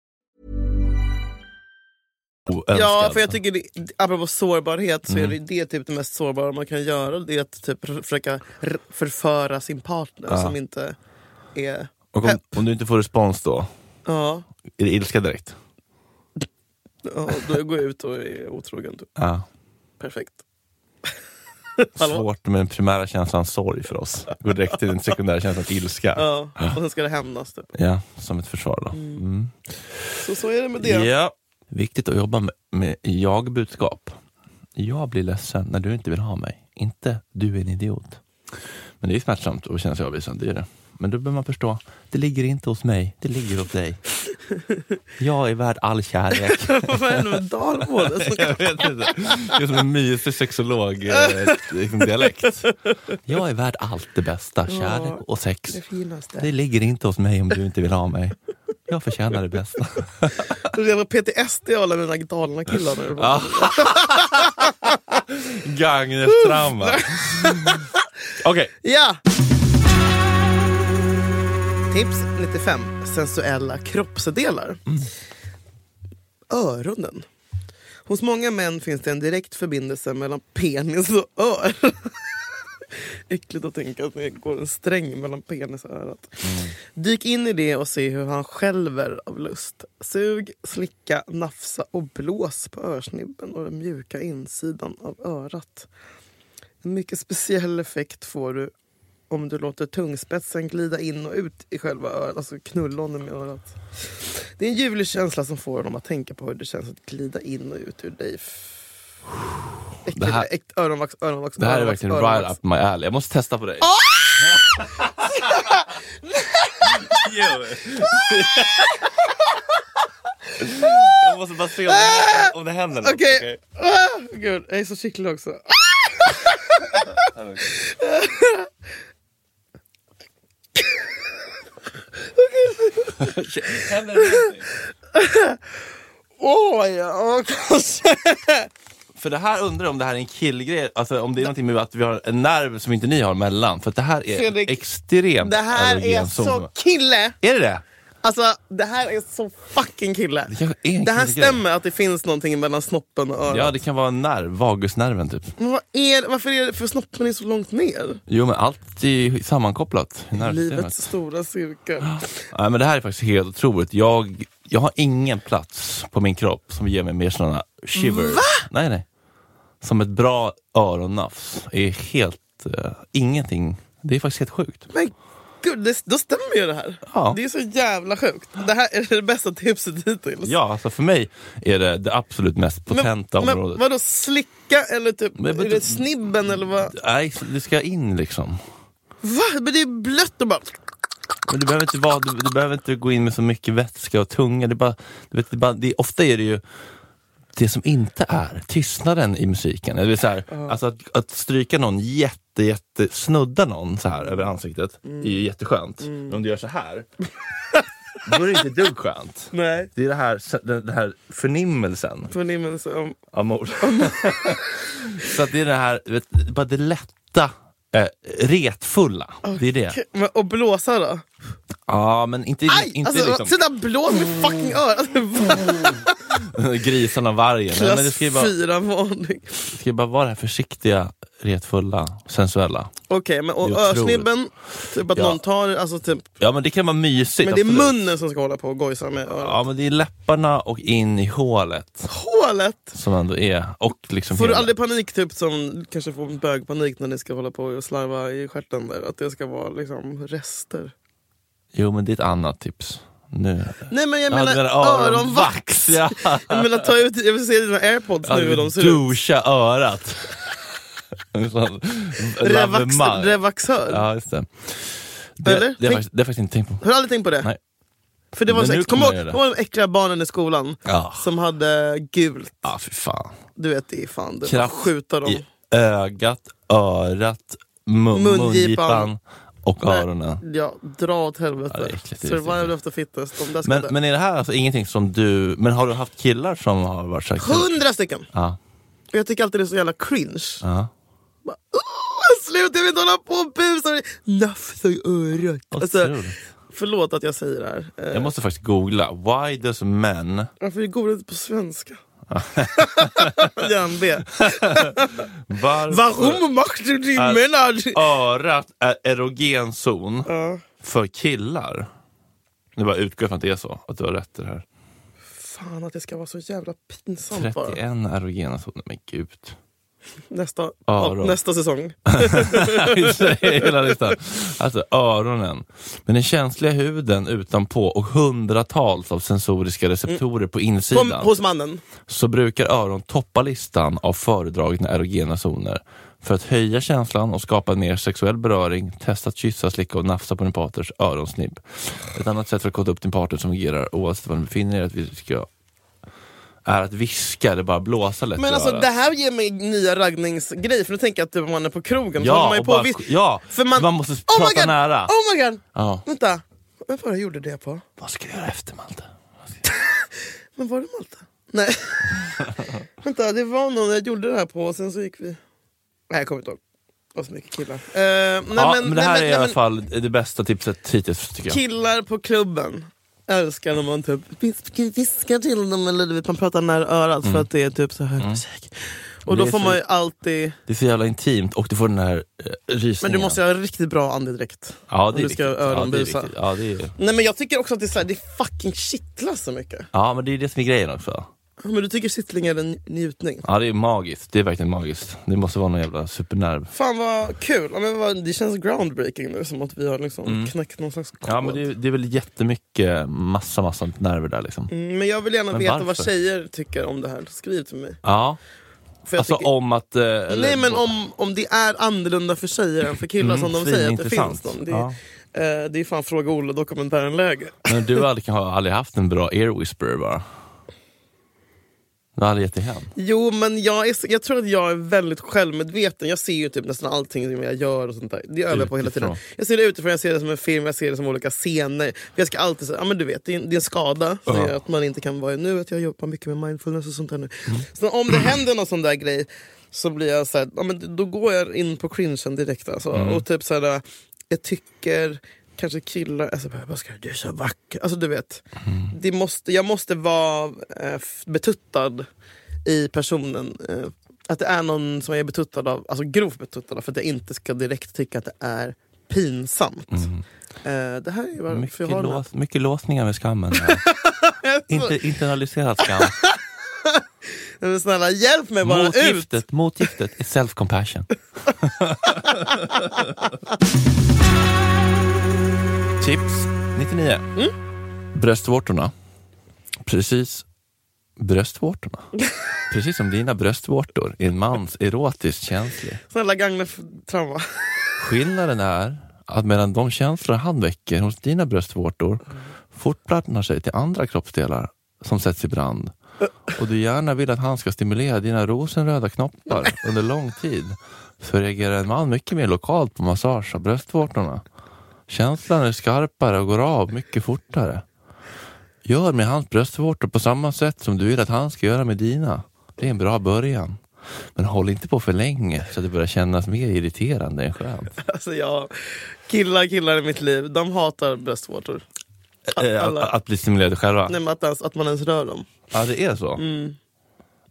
Speaker 1: Oönskad.
Speaker 2: Ja, för jag tycker, det, apropå sårbarhet, så
Speaker 1: Mm.
Speaker 2: är det, det är typ det mest sårbara man kan göra. Det är att typ försöka r- förföra sin partner som inte är
Speaker 1: Och om, om du inte får respons då,
Speaker 2: Ja,
Speaker 1: är det ilska direkt?
Speaker 2: ja då går jag ut och är otrogen. typ.
Speaker 1: Ja.
Speaker 2: Perfekt. Hallå?
Speaker 1: Svårt med den primära känslan sorg för oss. Går direkt till den sekundära känslan ilska.
Speaker 2: Ja, och sen ska det hämnas. Typ.
Speaker 1: Ja, som ett försvar då. Mm.
Speaker 2: Så, så är det med det.
Speaker 1: Ja. Viktigt att jobba med, med jag-budskap. Jag blir ledsen när du inte vill ha mig. Inte du är en idiot. Men det är smärtsamt och känns avvisande. Det är det. Men då behöver man förstå, det ligger inte hos mig, det ligger hos dig. Jag är värd all kärlek.
Speaker 2: Vad är det med Dalmål? Så-
Speaker 1: Jag vet inte. Det är som en mysig sexolog-dialekt. Liksom dialekt. jag är värd allt det bästa, kärlek och sex.
Speaker 2: Det finaste.
Speaker 1: Det ligger inte hos mig om du inte vill ha mig. Jag förtjänar det bästa.
Speaker 2: Så Jag var PTSD av alla mina galna killar. när jag var-
Speaker 1: Gagnef-trauma. Okej.
Speaker 2: Ja! Tips 95. Sensuella kroppsdelar. Öronen. Hos många män finns det en direkt förbindelse mellan penis och ör. Äckligt att tänka att det går en sträng mellan penis och örat.
Speaker 1: Mm.
Speaker 2: Dyk in i det och se hur han skälver av lust. Sug, slicka, nafsa och blås på örsnibben och den mjuka insidan av örat. En mycket speciell effekt får du om du låter tungspetsen glida in och ut i själva örat, alltså knullonen med örat. Det är en ljuvlig känsla som får honom att tänka på hur det känns att glida in och ut ur dig. Äckligt,
Speaker 1: Det här-
Speaker 2: äkt, öronvax, öronvax,
Speaker 1: Det här är
Speaker 2: öronvax,
Speaker 1: verkligen
Speaker 2: öronvax.
Speaker 1: right up my alley. Jag måste testa på
Speaker 2: Ah!
Speaker 1: dig. Jag måste bara se om det, om det händer något.
Speaker 2: Okej. Ah, gud, jag är så kittlig också.
Speaker 1: Händer det någonting?
Speaker 2: Åh, ja, kanske.
Speaker 1: För det här undrar jag om det här är en killgrej, alltså om det är någonting med att vi har en nerv som inte ni har mellan. För att det här är
Speaker 2: Fredrik,
Speaker 1: extremt
Speaker 2: Det här är
Speaker 1: erogen
Speaker 2: så
Speaker 1: zon.
Speaker 2: kille!
Speaker 1: Är det det?
Speaker 2: Alltså, det här är så fucking kille.
Speaker 1: Det kanske är en
Speaker 2: Det här
Speaker 1: kille grej.
Speaker 2: stämmer att det finns någonting mellan snoppen och örat.
Speaker 1: Ja, det kan vara en nerv, vagusnerven typ.
Speaker 2: Men vad är, det- varför är det för snoppen är så långt ner?
Speaker 1: Jo, men allt är ju sammankopplat i nervsystemet.
Speaker 2: Livets stora cirkel.
Speaker 1: Nej, men det här är faktiskt helt otroligt. Jag, jag har ingen plats på min kropp som ger mig mer sådana shivers. Nej, nej. Som ett bra öronnafs. är helt, eh, ingenting. Det är faktiskt helt sjukt.
Speaker 2: Men gud, det, då stämmer ju det här.
Speaker 1: Ja.
Speaker 2: Det är så jävla sjukt. Det här är det bästa tipset hittills.
Speaker 1: Ja, alltså för mig är det det absolut mest
Speaker 2: Men,
Speaker 1: potenta
Speaker 2: men
Speaker 1: området.
Speaker 2: vadå, slicka eller typ,
Speaker 1: Men- men
Speaker 2: är det
Speaker 1: du-
Speaker 2: snibben eller vad?
Speaker 1: Nej, det ska in liksom.
Speaker 2: Va? Men det är blött och bara...
Speaker 1: Men du behöver inte, vara, du, du behöver inte gå in med så mycket vätska och tunga. Det är bara, du vet, det är bara, det, ofta är det ju det som inte är, tystnaden i musiken. Det vill säga, alltså att, att stryka någon jätte, jätte, snudda någon så här över ansiktet är ju jätteskönt. Men om du gör så här, då är det inte ett dugg skönt.
Speaker 2: Nej.
Speaker 1: Det är det här, den, den här förnimmelsen
Speaker 2: Förnimmelse om...
Speaker 1: av mord. så att det är det här, vet, bara det lätta, eh, retfulla. Det är det.
Speaker 2: Men, och blåsa då?
Speaker 1: Ja, men inte,
Speaker 2: Aj!
Speaker 1: inte
Speaker 2: alltså,
Speaker 1: liksom...
Speaker 2: Sitta blås med fucking örat! Alltså, va?
Speaker 1: Grisarna och vargen. Nej, men det
Speaker 2: Klass
Speaker 1: ska ju bara,
Speaker 2: fyra varning.
Speaker 1: det ska ju bara vara det här försiktiga, retfulla, sensuella.
Speaker 2: Okej, men och
Speaker 1: Det är otroligt.
Speaker 2: örsnibben? Typ att
Speaker 1: Ja.
Speaker 2: någon tar... Alltså, typ,
Speaker 1: Ja men det kan vara mysigt.
Speaker 2: men det är
Speaker 1: absolut.
Speaker 2: munnen som ska hålla på och gojsa med örat.
Speaker 1: Ja men det är läpparna och in i hålet
Speaker 2: Hålet!
Speaker 1: som ändå är. Och liksom
Speaker 2: Får du
Speaker 1: hela-
Speaker 2: aldrig panik typ som kanske får en bögpanik när ni ska hålla på och slarva i stjärten där? Att det ska vara liksom rester?
Speaker 1: Jo men det är ett annat tips. Nu.
Speaker 2: Nej men jag
Speaker 1: Ja,
Speaker 2: menar
Speaker 1: du
Speaker 2: öronvax!
Speaker 1: Ja.
Speaker 2: Jag menar ta ut, jag vill se dina airpods
Speaker 1: Ja,
Speaker 2: nu hur
Speaker 1: du
Speaker 2: de ser ut.
Speaker 1: duscha örat. En sån
Speaker 2: Revax,
Speaker 1: lavemang.
Speaker 2: revaxör.
Speaker 1: Ja just det. Det,
Speaker 2: Eller?
Speaker 1: det, har jag faktiskt- det har jag faktiskt inte tänkt på.
Speaker 2: Har du aldrig tänkt på det?
Speaker 1: Nej.
Speaker 2: För det var
Speaker 1: Men
Speaker 2: så
Speaker 1: nu
Speaker 2: äck- Kom
Speaker 1: kommer
Speaker 2: ihåg
Speaker 1: jag göra
Speaker 2: kom ihåg de äckliga barnen i skolan
Speaker 1: Ja.
Speaker 2: som hade gult.
Speaker 1: Ja ah, fy fan.
Speaker 2: Du vet, det är fan det.
Speaker 1: Kraft
Speaker 2: Skjuta dem.
Speaker 1: i ögat, örat, mun,
Speaker 2: Mungipan.
Speaker 1: mungipan. och öronen.
Speaker 2: Ja, dra åt helvete.
Speaker 1: Ja, det är äckligt, det är
Speaker 2: Survival
Speaker 1: riktigt.
Speaker 2: after fitness. De där ska
Speaker 1: Men,
Speaker 2: dö.
Speaker 1: men är det här alltså ingenting som du... Men har du haft killar som har varit så här-
Speaker 2: Hundra stycken!
Speaker 1: Ja.
Speaker 2: Och jag tycker alltid det är så jävla cringe.
Speaker 1: Ja.
Speaker 2: Bara, "Åh, Sluta, jag vill inte hålla på och busa. Nafsa i örat.
Speaker 1: Vad
Speaker 2: Alltså,
Speaker 1: kul.
Speaker 2: förlåt att jag säger det här. Eh,
Speaker 1: Jag måste faktiskt googla. Why does men...
Speaker 2: Varför är godis på svenska? Järnben.
Speaker 1: Varför
Speaker 2: Varum machst du die
Speaker 1: alltså,
Speaker 2: Männer?
Speaker 1: örat är erogen zon för killar? Nu bara utgår jag från att det är så, att du har rätt i det här.
Speaker 2: Fan att det ska vara så jävla pinsamt bara.
Speaker 1: 31 erogena zoner, men gud.
Speaker 2: Nästa,
Speaker 1: Öron.
Speaker 2: nästa säsong.
Speaker 1: Vi säger hela listan. Alltså öronen, med den känsliga huden utanpå och hundratals av sensoriska receptorer på
Speaker 2: På,
Speaker 1: insidan
Speaker 2: hos mannen.
Speaker 1: så brukar öron toppa listan av föredragna erogena zoner för att höja känslan och skapa mer sexuell beröring, testa att kyssa, slicka och nafsa på din partners öronsnibb. Ett annat sätt för att kolla upp din partner som agerar oavsett var den befinner er att vi ska, är att viska eller bara blåsa lätt
Speaker 2: Men
Speaker 1: i
Speaker 2: alltså
Speaker 1: örat.
Speaker 2: det här ger mig nya raggningsgrej, för nu tänker jag att det var man är på krogen. så håller
Speaker 1: Ja,
Speaker 2: man ju
Speaker 1: och
Speaker 2: på
Speaker 1: bara,
Speaker 2: och vis-
Speaker 1: ja
Speaker 2: För man-
Speaker 1: man måste
Speaker 2: Oh my
Speaker 1: prata
Speaker 2: God!
Speaker 1: nära.
Speaker 2: Oh my god!
Speaker 1: Ja.
Speaker 2: Vänta, vad var det jag gjorde det på?
Speaker 1: Vad ska jag göra efter Malte?
Speaker 2: Men var det Malte? Nej. Vänta, det var någon jag gjorde det här på och sen så gick vi... Nej, jag kommer inte ihåg. Det var så mycket killar. Eh, nej,
Speaker 1: ja, men, det
Speaker 2: nej,
Speaker 1: här är alltså-
Speaker 2: nej,
Speaker 1: i alla
Speaker 2: men-
Speaker 1: fall det bästa tipset hittills tycker jag.
Speaker 2: Killar på klubben älskar när man typ vis- viskar till dem eller du vet, man pratar nära örat för att det är typ så här musik. Och då
Speaker 1: Mm. Det är
Speaker 2: får
Speaker 1: så-
Speaker 2: man ju alltid...
Speaker 1: Det är så jävla intimt och du får den här eh,
Speaker 2: Men
Speaker 1: rysningen.
Speaker 2: du måste ha riktigt bra andedräkt.
Speaker 1: ja,
Speaker 2: om
Speaker 1: det är
Speaker 2: du ska
Speaker 1: viktigt. ja, det är
Speaker 2: öronbusa.
Speaker 1: viktigt. ja, det är
Speaker 2: Nej men jag tycker också att det är, så här, det fucking kittlar så mycket.
Speaker 1: ja, men det är det som är grejen också.
Speaker 2: Ja, Men du tycker kittling är en njutning?
Speaker 1: Ja, det är magiskt. Det är verkligen magiskt. Det måste vara någon jävla supernerv.
Speaker 2: Fan vad kul, ja, men vad, det känns groundbreaking nu som att vi har liksom knäckt någon slags kod.
Speaker 1: Mm. Ja, men det är, det är väl jättemycket, massa, massa nerver där liksom.
Speaker 2: Mm, men jag vill gärna
Speaker 1: Men
Speaker 2: veta vad
Speaker 1: varför?
Speaker 2: tjejer tycker om det här, skriv till mig.
Speaker 1: Ja,
Speaker 2: För jag
Speaker 1: alltså
Speaker 2: tycker-
Speaker 1: om att... eh, eller-
Speaker 2: Nej men om, om det är annorlunda för tjejer än för killar
Speaker 1: Mm,
Speaker 2: som de säger att det
Speaker 1: svinintressant.
Speaker 2: finns dem. Det,
Speaker 1: Ja.
Speaker 2: eh, det är fan Fråga Olle dokumentären läge.
Speaker 1: Men du har aldrig, har aldrig haft en bra air whisperer bara? Du har aldrig gett dig hem?
Speaker 2: Jo men jag, är, så- jag tror att jag är väldigt självmedveten. Jag ser ju typ nästan allting som jag gör och sånt där. Det övar jag på hela tiden.
Speaker 1: Utifrån.
Speaker 2: Jag ser det utifrån, jag ser det som en film, jag ser det som olika scener. För Jag ska alltid säga, ja men du vet det är en, det är en skada som
Speaker 1: Ja.
Speaker 2: gör att man inte kan vara i nuet. Jag jobbar mycket med mindfulness och sånt där nu. Så om det händer någon sån där grej så blir jag så här, ja, men då går jag in på cringen direkt alltså.
Speaker 1: Mm.
Speaker 2: Och typ så här, jag tycker Kanske killar, alltså bara, vad ska du är så vacker. Alltså du vet, det måste, jag måste vara eh, f- betuttad i personen. Eh, att det är någon som jag är betuttad av, alltså grovt betuttad av för att jag inte ska direkt tycka att det är pinsamt. Eh, det här är ju
Speaker 1: Mm. Mycket,
Speaker 2: varför jag har den här.
Speaker 1: lås, mycket låsningar med skammen. här. Inte, internaliserad skam.
Speaker 2: Men snälla hjälp mig bara ut!
Speaker 1: motgiftet, motgiftet är self compassion. Tips 99.
Speaker 2: Mm.
Speaker 1: Bröstvårtorna. Precis. Bröstvårtorna. Precis som dina bröstvårtor är en mans erotiskt känslig.
Speaker 2: Snälla gagna f- trauma.
Speaker 1: Skillnaden är att medan de känslor han väcker hos dina bröstvårtor fortplantar sig till andra kroppsdelar som sätts i brand och du gärna vill att han ska stimulera dina rosenröda knoppar under lång tid så reagerar en man mycket mer lokalt på massage av bröstvårtorna. Känslan är skarpare och går av mycket fortare. Gör med hans bröstvårtor på samma sätt som du vill att han ska göra med dina. Det är en bra början. Men håll inte på för länge så att det börjar kännas mer irriterande än skönt.
Speaker 2: Alltså jag, killar killar i mitt liv, de hatar bröstvårtor.
Speaker 1: Eh,
Speaker 2: alla-
Speaker 1: Att, att bli stimulerade själva?
Speaker 2: Nej, men att, ens, att man ens rör dem.
Speaker 1: Ja, det är så?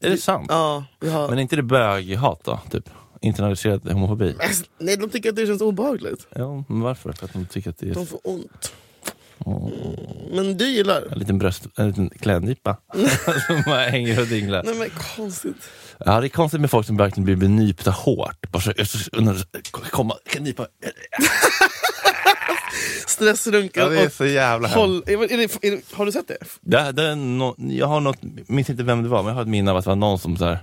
Speaker 1: Är det sant?
Speaker 2: Ja, jag har...
Speaker 1: Men är inte det böghat då? Typ? Internaliserad homofobi?
Speaker 2: Alltså, Nej, de tycker att det känns obehagligt.
Speaker 1: Ja, men varför? För att de tycker att det är
Speaker 2: De får ont. Mm, Men du gillar?
Speaker 1: en liten bröst, en liten klädnypa
Speaker 2: Mm.
Speaker 1: som bara hänger och dinglar.
Speaker 2: Nej men konstigt.
Speaker 1: Ja, det är konstigt med folk som verkligen blir benypta hårt. Bara så, jag så- undrar, kom- komma, kan nypa?
Speaker 2: Stressrunkar och...
Speaker 1: jävla
Speaker 2: Håll, är, är det, är det, har du sett det?
Speaker 1: Det, det är nå- jag har något, minns inte vem det var, men jag har ett minne av att det var någon som så här,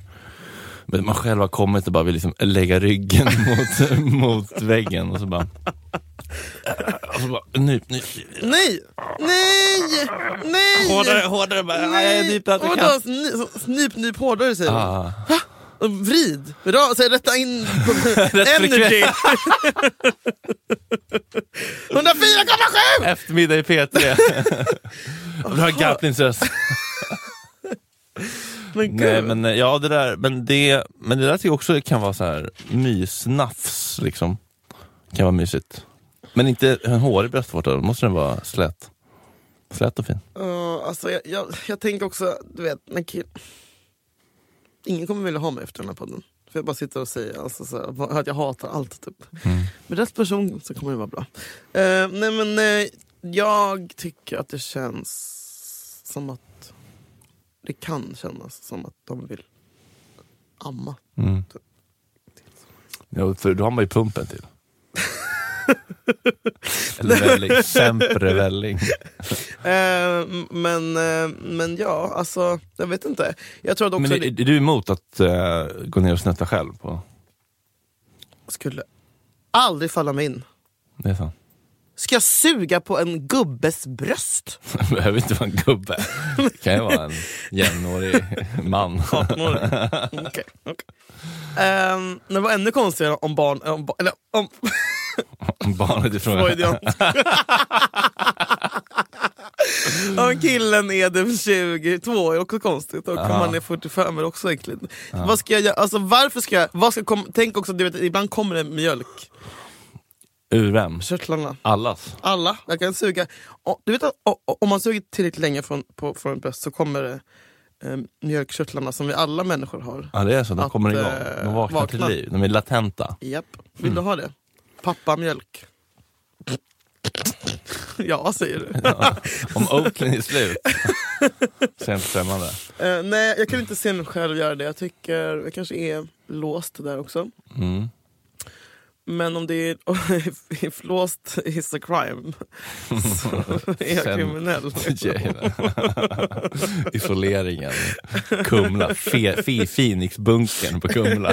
Speaker 1: men man själv har kommit och bara vill liksom lägga ryggen mot, mot väggen och så bara... Och så bara, nyp, nyp.
Speaker 2: Nej! Nej! Nej!
Speaker 1: Hårdare, hårdare, bara, nej, jag nyper allt jag
Speaker 2: Vadå?
Speaker 1: kan.
Speaker 2: Sny- så- Snyp, nyp hårdare säger de.
Speaker 1: Ah,
Speaker 2: Och Vrid! Bra, så rätta in energy! 104,7!
Speaker 1: eftermiddag i P3. Du har Gaplins röst.
Speaker 2: men gud.
Speaker 1: Nej, men eh, ja, det där, men det, men det där tycker jag också kan vara så här mysnafs liksom. Kan vara mysigt. Men inte en hårig bröstvårta, då måste den vara slät. Slät och fin.
Speaker 2: Ja, alltså, jag, jag, jag tänker också, du vet, när kill... Ingen kommer vilja ha mig efter den här podden. För jag bara sitter och säger alltså, så här, att jag hatar allt. Typ. Men rätt person så kommer det vara bra. Eh, nej men eh, jag tycker att det känns som att det kan kännas som att de vill amma.
Speaker 1: Mm. Ja, för då har man ju pumpen till. Eller välling. Sempre välling.
Speaker 2: Eh, m- men, eh, men ja, alltså jag vet inte. Jag tror att
Speaker 1: Men
Speaker 2: också
Speaker 1: är, är
Speaker 2: det
Speaker 1: du emot att eh, gå ner och snutta själv? på
Speaker 2: skulle aldrig falla mig in.
Speaker 1: Det är sant.
Speaker 2: Ska jag suga på en gubbes bröst?
Speaker 1: Det behöver inte vara en gubbe. Det kan ju vara en jämnårig man.
Speaker 2: Okej, okej. Ehm, det var ännu konstigare om barn... Om, ba- eller om...
Speaker 1: Barnet i fråga.
Speaker 2: Freudian. om killen är det 22 är också konstigt. Och om man är 45 är det också äckligt. Vad ska jag göra? Alltså, varför ska jag... Vad ska kom, tänk också, du vet, ibland kommer det mjölk.
Speaker 1: Ur vem?
Speaker 2: Körtlarna.
Speaker 1: Allas.
Speaker 2: Alla. Jag kan suga. Och, du vet att o- o- om man suger tillräckligt länge från, på, från ett bröst så kommer det eh, mjölkkörtlarna som vi alla människor har.
Speaker 1: Ja det är så, de
Speaker 2: Att,
Speaker 1: kommer igång.
Speaker 2: eh,
Speaker 1: De vaknar
Speaker 2: vakna.
Speaker 1: till liv. De är latenta.
Speaker 2: Japp. Vill du ha det? Pappamjölk. ja, säger du.
Speaker 1: Om Oakland är slut. Så är jag inte främmande.
Speaker 2: Eh, nej, jag kan inte se mig själv göra det. Jag tycker jag kanske är låst där också.
Speaker 1: Mm.
Speaker 2: Men om det är if låst is a crime så är jag
Speaker 1: Sen-
Speaker 2: kriminell.
Speaker 1: Jane. Isoleringen. Kumla. Fe, fe, Phoenixbunkern på Kumla.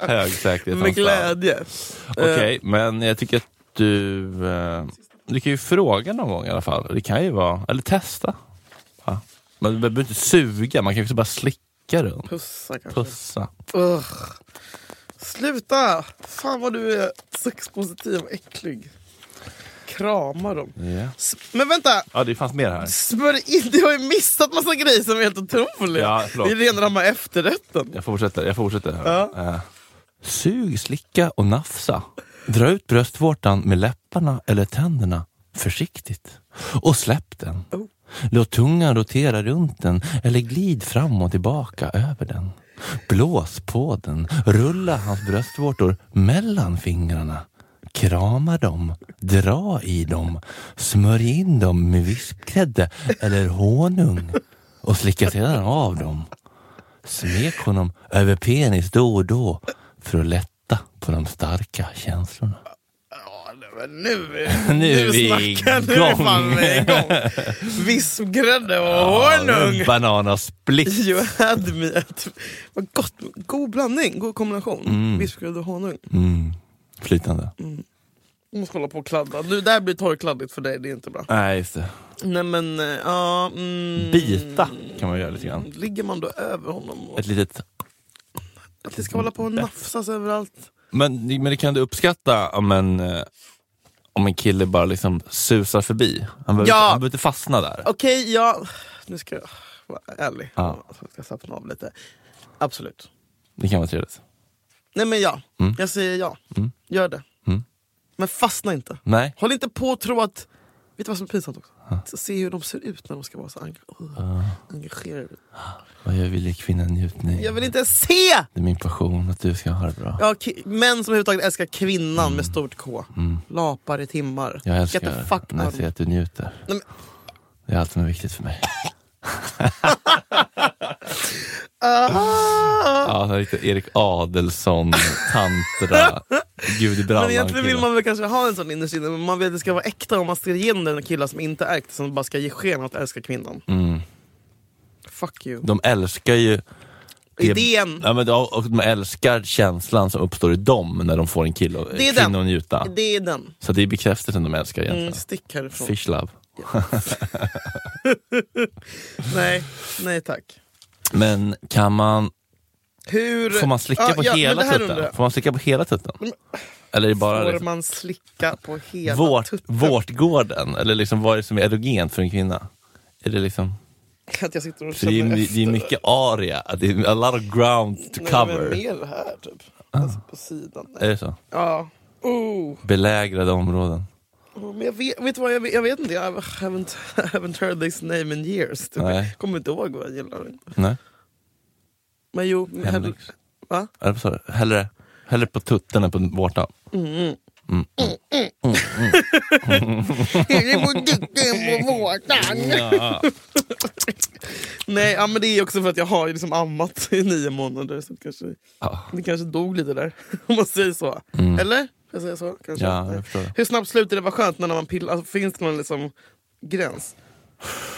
Speaker 1: Hög
Speaker 2: Med
Speaker 1: säkerhetsanstalt.
Speaker 2: glädje.
Speaker 1: Okej, men jag tycker att du... Eh, du kan ju fråga någon gång i alla fall. Det kan ju vara... Eller testa. Ja. Men man behöver inte suga, man kan ju också bara slicka runt.
Speaker 2: Pussar kanske.
Speaker 1: Pussa.
Speaker 2: Ugh. Sluta! Fan vad du är sexpositiv och äcklig. Krama dem.
Speaker 1: Ja.
Speaker 2: S- Men vänta!
Speaker 1: Ja, det fanns mer här.
Speaker 2: Smörj in, du har ju missat massa grejer som är helt otroliga.
Speaker 1: Ja, förlåt.
Speaker 2: det är rena rama efterrätten.
Speaker 1: Jag fortsätter, jag fortsätter. Här.
Speaker 2: Ja.
Speaker 1: Eh, sug, slicka och nafsa. Dra ut bröstvårtan med läpparna eller tänderna försiktigt och släpp den. Låt tungan rotera runt den eller glid fram och tillbaka över den. Blås på den, rulla hans bröstvårtor mellan fingrarna. Krama dem, dra i dem, smörj in dem med vispgrädde eller honung och slicka sedan av dem. Smek honom över penis då och då för att lätta på de starka känslorna.
Speaker 2: Ja, nej, men nu,
Speaker 1: Nu är vi
Speaker 2: snackar nu är
Speaker 1: igång.
Speaker 2: fan vi igång. Vispgrädde och honung.
Speaker 1: Banana split.
Speaker 2: You had me at... Vad gott. God blandning, god kombination. Vispgrädde och honung.
Speaker 1: Mm. Flytande.
Speaker 2: Jag måste hålla på och kladda. Nu, det här blir torrkladdigt för dig, det är inte bra.
Speaker 1: Nej, just det.
Speaker 2: Nej men, eh, ja... mm,
Speaker 1: Bita kan man göra lite grann.
Speaker 2: Ligger man då över honom? Och
Speaker 1: Ett litet...
Speaker 2: att det ska hålla på och nafsas överallt?
Speaker 1: Men, men det kan du uppskatta om en, eh, om en kille bara liksom susar förbi? Han behöver, inte,
Speaker 2: Ja.
Speaker 1: han behöver inte fastna där.
Speaker 2: Okej, ja... Nu ska jag vara ärlig.
Speaker 1: Ja.
Speaker 2: Jag ska slappna av lite. Absolut.
Speaker 1: Det kan vara trevligt.
Speaker 2: Nej men ja,
Speaker 1: Mm.
Speaker 2: jag säger ja. Gör det. Men fastna inte.
Speaker 1: Nej.
Speaker 2: Håll inte på och tro att... Vet du vad som är pinsamt också? Så Se hur de ser ut när de ska vara så eng- oh, engagerade.
Speaker 1: Vad jag vill ge kvinnan njutning.
Speaker 2: Jag vill inte se!
Speaker 1: Det är min passion att du ska ha det bra.
Speaker 2: Ja, ki- män som överhuvudtaget älskar kvinnan med stort K. Lapar i timmar.
Speaker 1: Mm. Jag
Speaker 2: Get the
Speaker 1: älskar
Speaker 2: fuck
Speaker 1: när jag
Speaker 2: out.
Speaker 1: ser att du njuter.
Speaker 2: men-
Speaker 1: Det är allt som är viktigt för mig.
Speaker 2: Ah!
Speaker 1: Ja, han är lite Erik Adelsson, tantra, gud i brallan.
Speaker 2: Men egentligen vill
Speaker 1: kille.
Speaker 2: man väl kanske ha en sån innerst inne, men man vill att det ska vara äkta och man ska ge den där killar som inte är äkta, som bara ska ge sken av att älska kvinnan.
Speaker 1: Mm.
Speaker 2: Fuck you.
Speaker 1: De älskar ju...
Speaker 2: Idén.
Speaker 1: Ja, men de, och de älskar känslan som uppstår i dem när de får en kille
Speaker 2: Det är
Speaker 1: det
Speaker 2: den.
Speaker 1: kvinna att njuta.
Speaker 2: Det är den.
Speaker 1: Så det är bekräftelsen de älskar
Speaker 2: Mm,
Speaker 1: egentligen.
Speaker 2: stick härifrån.
Speaker 1: Fish love.
Speaker 2: Nej, nej tack.
Speaker 1: Men kan man,
Speaker 2: Hur...
Speaker 1: får man slicka
Speaker 2: Ja,
Speaker 1: på
Speaker 2: ja, men
Speaker 1: hela
Speaker 2: det här
Speaker 1: tutten?
Speaker 2: undrar jag.
Speaker 1: Får man slicka på hela tutten? Eller är det bara
Speaker 2: Får
Speaker 1: liksom,
Speaker 2: man slicka på hela
Speaker 1: vårt,
Speaker 2: tutten?
Speaker 1: vårtgården? Eller liksom vad är det som är erogent för en kvinna? Är det liksom...
Speaker 2: Att jag sitter och
Speaker 1: Så det, är,
Speaker 2: känner efter.
Speaker 1: det är mycket aria, det är a lot of ground to
Speaker 2: Nej,
Speaker 1: cover. Ah. Eh.
Speaker 2: Men mer här typ. Alltså på sidan.
Speaker 1: Är det så?
Speaker 2: Ja. Oh.
Speaker 1: Belägrade områden.
Speaker 2: Oh, Men jag vet, vet du vad, jag vet, jag vet inte. Jag haven't, haven't heard this name in years. Typ.
Speaker 1: Nej.
Speaker 2: Jag kommer inte ihåg vad jag gillar.
Speaker 1: Nej?
Speaker 2: Men jo.
Speaker 1: Hemlix.
Speaker 2: Va?
Speaker 1: Eller vad sa du? Hellre, hellre på tutten än på vårtan.
Speaker 2: Eller på dutten på vårtan. Nej, ja, men det är också för att jag har ju liksom ammat i nio månader. Så det kanske,
Speaker 1: Ja.
Speaker 2: det kanske dog lite där, om man säger så. Eller? Får Jag säger så, kanske?
Speaker 1: Mm. Ja,
Speaker 2: Nej.
Speaker 1: jag förstår det.
Speaker 2: Hur snabbt slutar det vara skönt när man pillar? Alltså, finns det någon liksom gräns?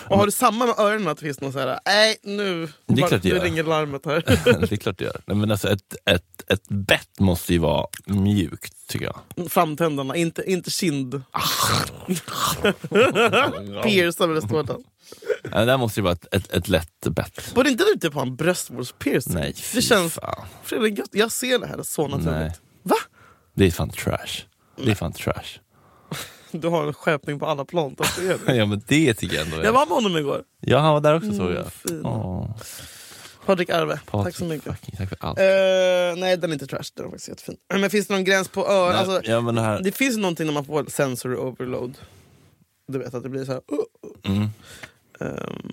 Speaker 2: Och har du samma med öronen? Att det finns någon så här, nej nu
Speaker 1: Det är klart det
Speaker 2: nu
Speaker 1: gör.
Speaker 2: ringer larmet här.
Speaker 1: det är klart det gör. Nej, men alltså ett, ett, ett bett måste ju vara mjukt tycker jag.
Speaker 2: Framtänderna, inte, inte kind. Piercad eller står den?
Speaker 1: Nej, Det där måste ju vara ett, ett, ett lätt bett.
Speaker 2: Borde inte du typ ha en bröstvårdspiercing?
Speaker 1: Nej, fy
Speaker 2: det känns...
Speaker 1: fan.
Speaker 2: Fredrik, jag- jag ser det här så
Speaker 1: Nej,
Speaker 2: naturligt. Va?
Speaker 1: det är fan trash. Det är fan trash.
Speaker 2: Du har en skärpning på alla plan. tack för det.
Speaker 1: Ja men det tycker jag ändå. är-
Speaker 2: Jag var med honom igår.
Speaker 1: Ja han var där också såg jag.
Speaker 2: fin.
Speaker 1: Åh,
Speaker 2: Patrik Arve, tack
Speaker 1: Patrik,
Speaker 2: så mycket.
Speaker 1: fucking Tack för allt.
Speaker 2: Eh, nej, den är inte trash. Den är faktiskt jättefin. Men finns det någon gräns på öron?
Speaker 1: Nej,
Speaker 2: Alltså,
Speaker 1: ja, men det här-
Speaker 2: Det finns någonting när man får sensory overload. Du vet att det blir så här... Uh, uh.
Speaker 1: mm.
Speaker 2: Ehm,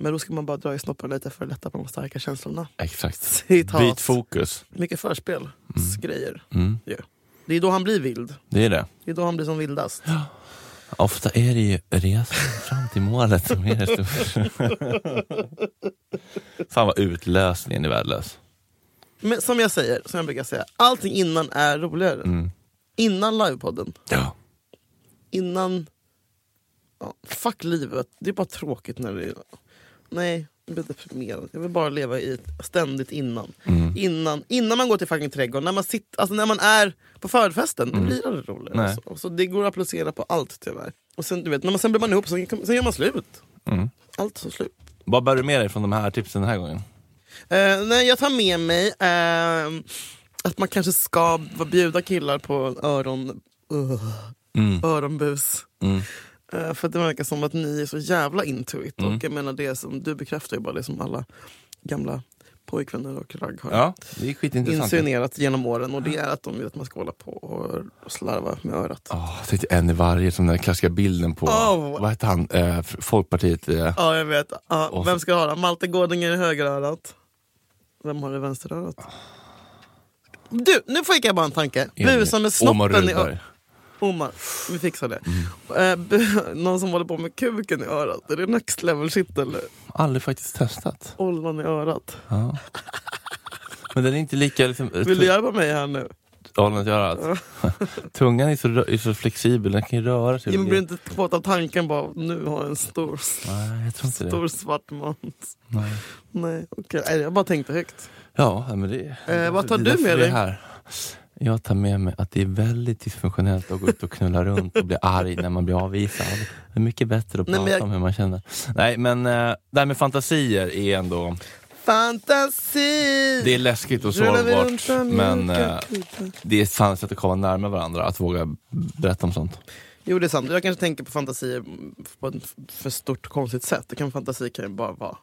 Speaker 2: men då ska man bara dra i snoppen lite för att lätta på de starka känslorna.
Speaker 1: Exakt.
Speaker 2: Citat.
Speaker 1: Byt fokus.
Speaker 2: Mycket förspelsgrejer.
Speaker 1: Mm.
Speaker 2: Ja. Det är då han blir vild.
Speaker 1: Det är det.
Speaker 2: Det är då han blir som vildast.
Speaker 1: Ofta är det ju resan fram till målet som är det stora. Fan vad utlösningen är värdelös.
Speaker 2: Men som jag säger, som jag brukar säga, allting innan är roligare.
Speaker 1: Mm.
Speaker 2: Innan livepodden.
Speaker 1: Ja.
Speaker 2: Innan... Ja, fuck livet. Det är bara tråkigt när det är... Nej, jag blir deprimerad. Jag vill bara leva i ett ständigt innan.
Speaker 1: Mm.
Speaker 2: Innan, innan man går till fucking trädgården. När man, sitter, alltså när man är på förfesten, det blir aldrig roligare.
Speaker 1: Mm. Nej.
Speaker 2: Alltså. Så det går att applicera på allt tyvärr. Och sen, du vet, när man, sen blir man ihop, sen, sen gör man slut. Allt tar slut.
Speaker 1: Mm. Vad bär du med dig från de här tipsen den här gången?
Speaker 2: Eh, nej, jag tar med mig ehm, att man kanske ska bjuda killar på öron, uh, öronbus. Eh, för att det verkar som att ni är så jävla into it. Och jag menar det som du bekräftar ju bara det som alla gamla pojkvänner och ragg har
Speaker 1: Ja, det är skitintressant.
Speaker 2: insinuerat genom åren. Och det är att de vill att man ska hålla på och slarva med örat. Ja,
Speaker 1: Oh, tänkte en i varje, som den där klassiska bilden på,
Speaker 2: Oh.
Speaker 1: vad hette han, eh, f- Folkpartiet? Eh.
Speaker 2: jag vet. Ja,
Speaker 1: Och så-
Speaker 2: vem ska ha det? Malte Gårdinger i högerörat. Vem har det i vänsterörat? Du, nu fick jag bara en tanke. Busa med
Speaker 1: Omar
Speaker 2: snoppen i
Speaker 1: Rudberg. Mm.
Speaker 2: örat. Omar, vi fixar det. Eh, bu- någon som håller på med kuken i örat, är det next level shit eller?
Speaker 1: Aldrig faktiskt testat.
Speaker 2: Ollon i örat.
Speaker 1: Men den är inte lika... Liksom,
Speaker 2: Vill du hjälpa mig här nu?
Speaker 1: Håller att göra allt. Tungan är så, rö- är så flexibel, den kan ju röra sig.
Speaker 2: Jag blir inte kåt av tanken bara, nu har jag en stor,
Speaker 1: Nej, jag tror inte
Speaker 2: stor
Speaker 1: det.
Speaker 2: svart mans.
Speaker 1: Nej.
Speaker 2: Nej, okej. Nej, Jag bara tänkte högt.
Speaker 1: Ja, nej, men det...
Speaker 2: Eh, vad tar
Speaker 1: det är
Speaker 2: du
Speaker 1: därför
Speaker 2: med
Speaker 1: vi är
Speaker 2: dig?
Speaker 1: Här. Jag tar med mig att det är väldigt dysfunktionellt att gå ut och knulla runt och bli arg när man blir avvisad. Det är mycket bättre att
Speaker 2: Nej, men
Speaker 1: prata
Speaker 2: jag-
Speaker 1: om hur man känner. Nej, men eh, det här med fantasier är ändå...
Speaker 2: Fantasi!
Speaker 1: Det är läskigt och
Speaker 2: Rullar vi runt
Speaker 1: sårbart,
Speaker 2: bland
Speaker 1: men
Speaker 2: mjuka
Speaker 1: eh,
Speaker 2: kutar.
Speaker 1: det är ett fan sätt att komma närmare varandra, att våga berätta om sånt.
Speaker 2: Jo det är sant, jag kanske tänker på fantasier på ett för stort konstigt sätt. Det kan, fantasi kan ju bara vara...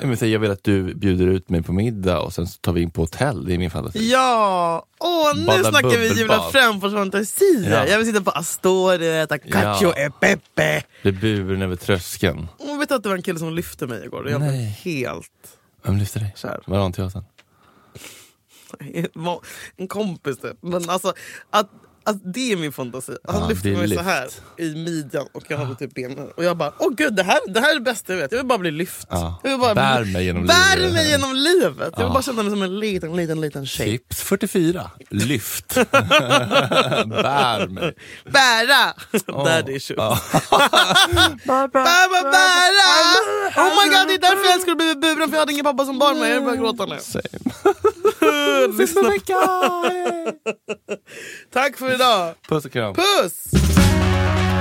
Speaker 1: Jag, vill säga, jag vill att du bjuder ut mig på middag och sen så tar vi in på hotell, det är min fantasi.
Speaker 2: Ja! Åh, nu
Speaker 1: Bada
Speaker 2: snackar vi
Speaker 1: bubbelbad.
Speaker 2: Julia Fränfors fantasier!
Speaker 1: Ja.
Speaker 2: Jag vill sitta på Astoria och äta cacio
Speaker 1: Ja.
Speaker 2: e pepe.
Speaker 1: Bli buren över tröskeln.
Speaker 2: Och vet du att det var en kille som lyfte mig igår? Jag blev
Speaker 1: Nej.
Speaker 2: helt...
Speaker 1: Vem lyfter dig?
Speaker 2: Kär.
Speaker 1: Varanteatern.
Speaker 2: var En kompis typ. Men alltså, att, att det är min fantasi. Han
Speaker 1: Ja,
Speaker 2: lyfte
Speaker 1: det är
Speaker 2: mig så
Speaker 1: lyft.
Speaker 2: här i midjan och jag hade typ benen. Och jag bara, åh gud, det här, det här är det bästa jag vet. Jag vill bara bli lyft.
Speaker 1: Ja.
Speaker 2: Jag vill bara,
Speaker 1: Bär mig genom
Speaker 2: bär
Speaker 1: livet.
Speaker 2: mig genom livet. Jag vill bara känna mig som en liten, liten, liten tjej.
Speaker 1: Tips 44. Lyft. Bär mig.
Speaker 2: Bära! Daddy issues. Bära, bära! Oh my god, det är därför jag älskar att bli buren, för jag hade ingen pappa som bar mig. Jag börjar gråta nu. Lyssna. Tack för idag.
Speaker 1: Puss och kram.
Speaker 2: Puss!